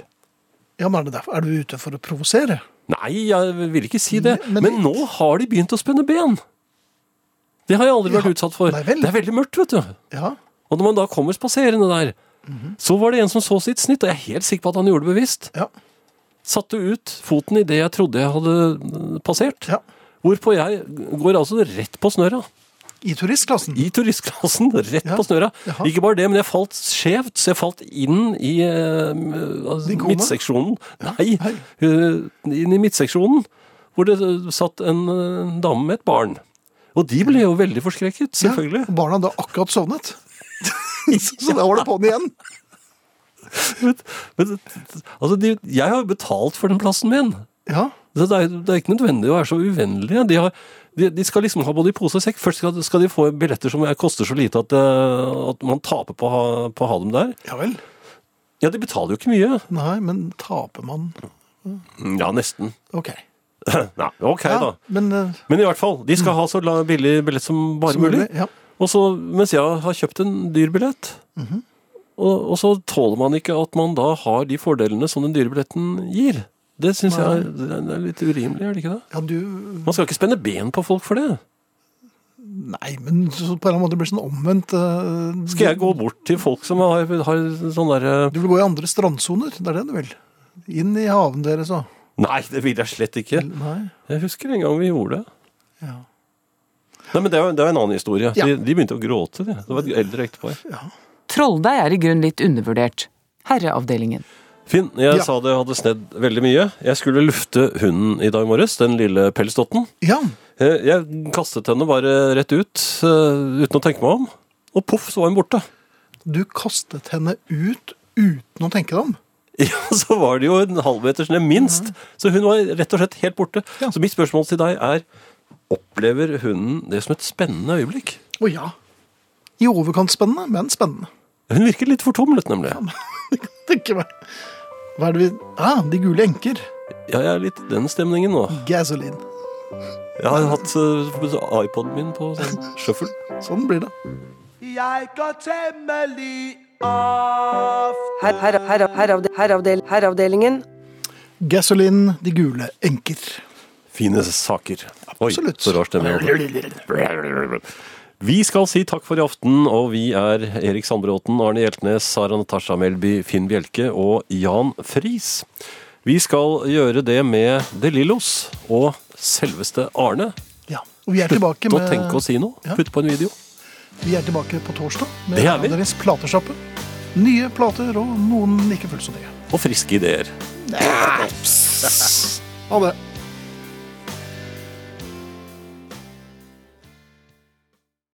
S2: Ja, men er det derfor? Er du ute for å provosere?
S3: Nei, jeg vil ikke si det.
S2: Men-
S3: Men, nå har de begynt å spenne ben. Det har jeg aldri vært
S2: Ja,
S3: utsatt for.
S2: nei vel.
S3: Det er veldig mørkt, vet du.
S2: Ja.
S3: Og når man da kommer spaserende der, så var det en som så sitt snitt, og jeg er helt sikker på at han gjorde det bevisst.
S2: Ja.
S3: Satte ut foten i det jeg trodde jeg hadde øh, passert.
S2: ja.
S3: Hvorpå jeg går altså rett på snøra.
S2: I turistklassen.
S3: I turistklassen, rett
S2: Ja,
S3: på snøra.
S2: jaha.
S3: Ikke bare det, men jeg falt skjevt, så jeg falt inn i eh, altså,
S2: Din kone?
S3: midtseksjonen. Nei, eh, inn i midtseksjonen, hvor det eh, satt en eh, dame med et barn. Og de ble jo veldig forskrekket, selvfølgelig.
S2: Ja, og barna hadde akkurat sovnet. så da var det på'n igjen.
S3: Men, altså, de, jeg har jo betalt for den plassen min.
S2: Ja.
S3: Så Det er, det er ikke nødvendig å være så uvennlige. De, har, de, de skal liksom ha både i pose og sekk. Først skal, skal de få billetter som er- koster så lite at, eh, at man taper på å ha, på å ha dem der.
S2: ja vel.
S3: Ja, de betaler jo ikke mye.
S2: Nei, men taper man
S3: Ja, nesten.
S2: OK.
S3: Nei, ok,
S2: Ja,
S3: da.
S2: men eh,
S3: Men i hvert fall, de skal ha så la- billig billett som bare
S2: som
S3: mulig.
S2: mulig, Ja.
S3: Og så, mens jeg har kjøpt en dyr billett,
S2: Mm-hmm.
S3: og, og så tåler man ikke at man da har de fordelene som den dyre billetten gir. Det syns jeg er, det er litt urimelig, er det ikke det?
S2: ja, du
S3: Man skal ikke spenne ben på folk for det.
S2: Nei, men så på en eller annen måte blir det sånn omvendt. eh,
S3: Skal jeg gå bort til folk som har, har sånn derre
S2: Du vil gå i andre strandsoner, det er det du vil. Inn i haven deres og
S3: Nei, det vil jeg slett ikke.
S2: Nei.
S3: Jeg husker en gang vi gjorde det.
S2: Ja.
S3: Nei, men Det er jo det er en annen historie.
S2: Ja.
S3: De, de begynte å gråte, de. Det var et eldre ektepar.
S8: Trolldeig er i grunnen litt undervurdert. Herreavdelingen.
S3: Finn, jeg
S2: Ja.
S3: sa det hadde snedd veldig mye. Jeg skulle lufte hunden i dag morges, den lille pelsdotten.
S2: Ja,
S3: Eh, Jeg kastet henne bare rett ut, eh, uten å tenke meg om. Og poff, så var hun borte.
S2: du kastet henne ut uten å tenke deg om.
S3: Ja, Så var det jo en halvmeter snø, minst. Så hun var rett og slett helt borte.
S2: Mhm. Ja.
S3: Så mitt spørsmål til deg er Opplever hunden det som et spennende øyeblikk?
S2: Å ja. I overkant spennende, men spennende.
S3: Hun virker litt fortumlet, nemlig.
S2: Tenker meg. Hva er det vi Ah, De gule enker.
S3: Ja, jeg er litt i den stemningen nå.
S2: Gasoline.
S3: Jeg har hatt eh, iPoden min på sånn shuffle.
S2: Sånn blir det.
S4: Her, her, her, heravde, heravdel, heravdelingen.
S2: Gasoline, de gule enker.
S3: Fine saker. Oi,
S2: Absolutt.
S3: så rar stemme. jeg hadde. Vi skal si takk for i aften, og vi er Erik Sandbråten, Arne Hjeltnes, Sara Natasha Melby, Finn Bjelke og Jan Friis. Vi skal gjøre det med De Lillos og selveste Arne.
S2: Ja. Og vi er tilbake
S3: Nå
S2: med
S3: tenk å si noe.
S2: Ja.
S3: Putt på en video.
S2: Vi er tilbake på torsdag med
S3: Det er vi.
S2: deres platesjappe. Nye plater og noen ikke fullt så nye.
S3: Og friske ideer.
S2: Ha det.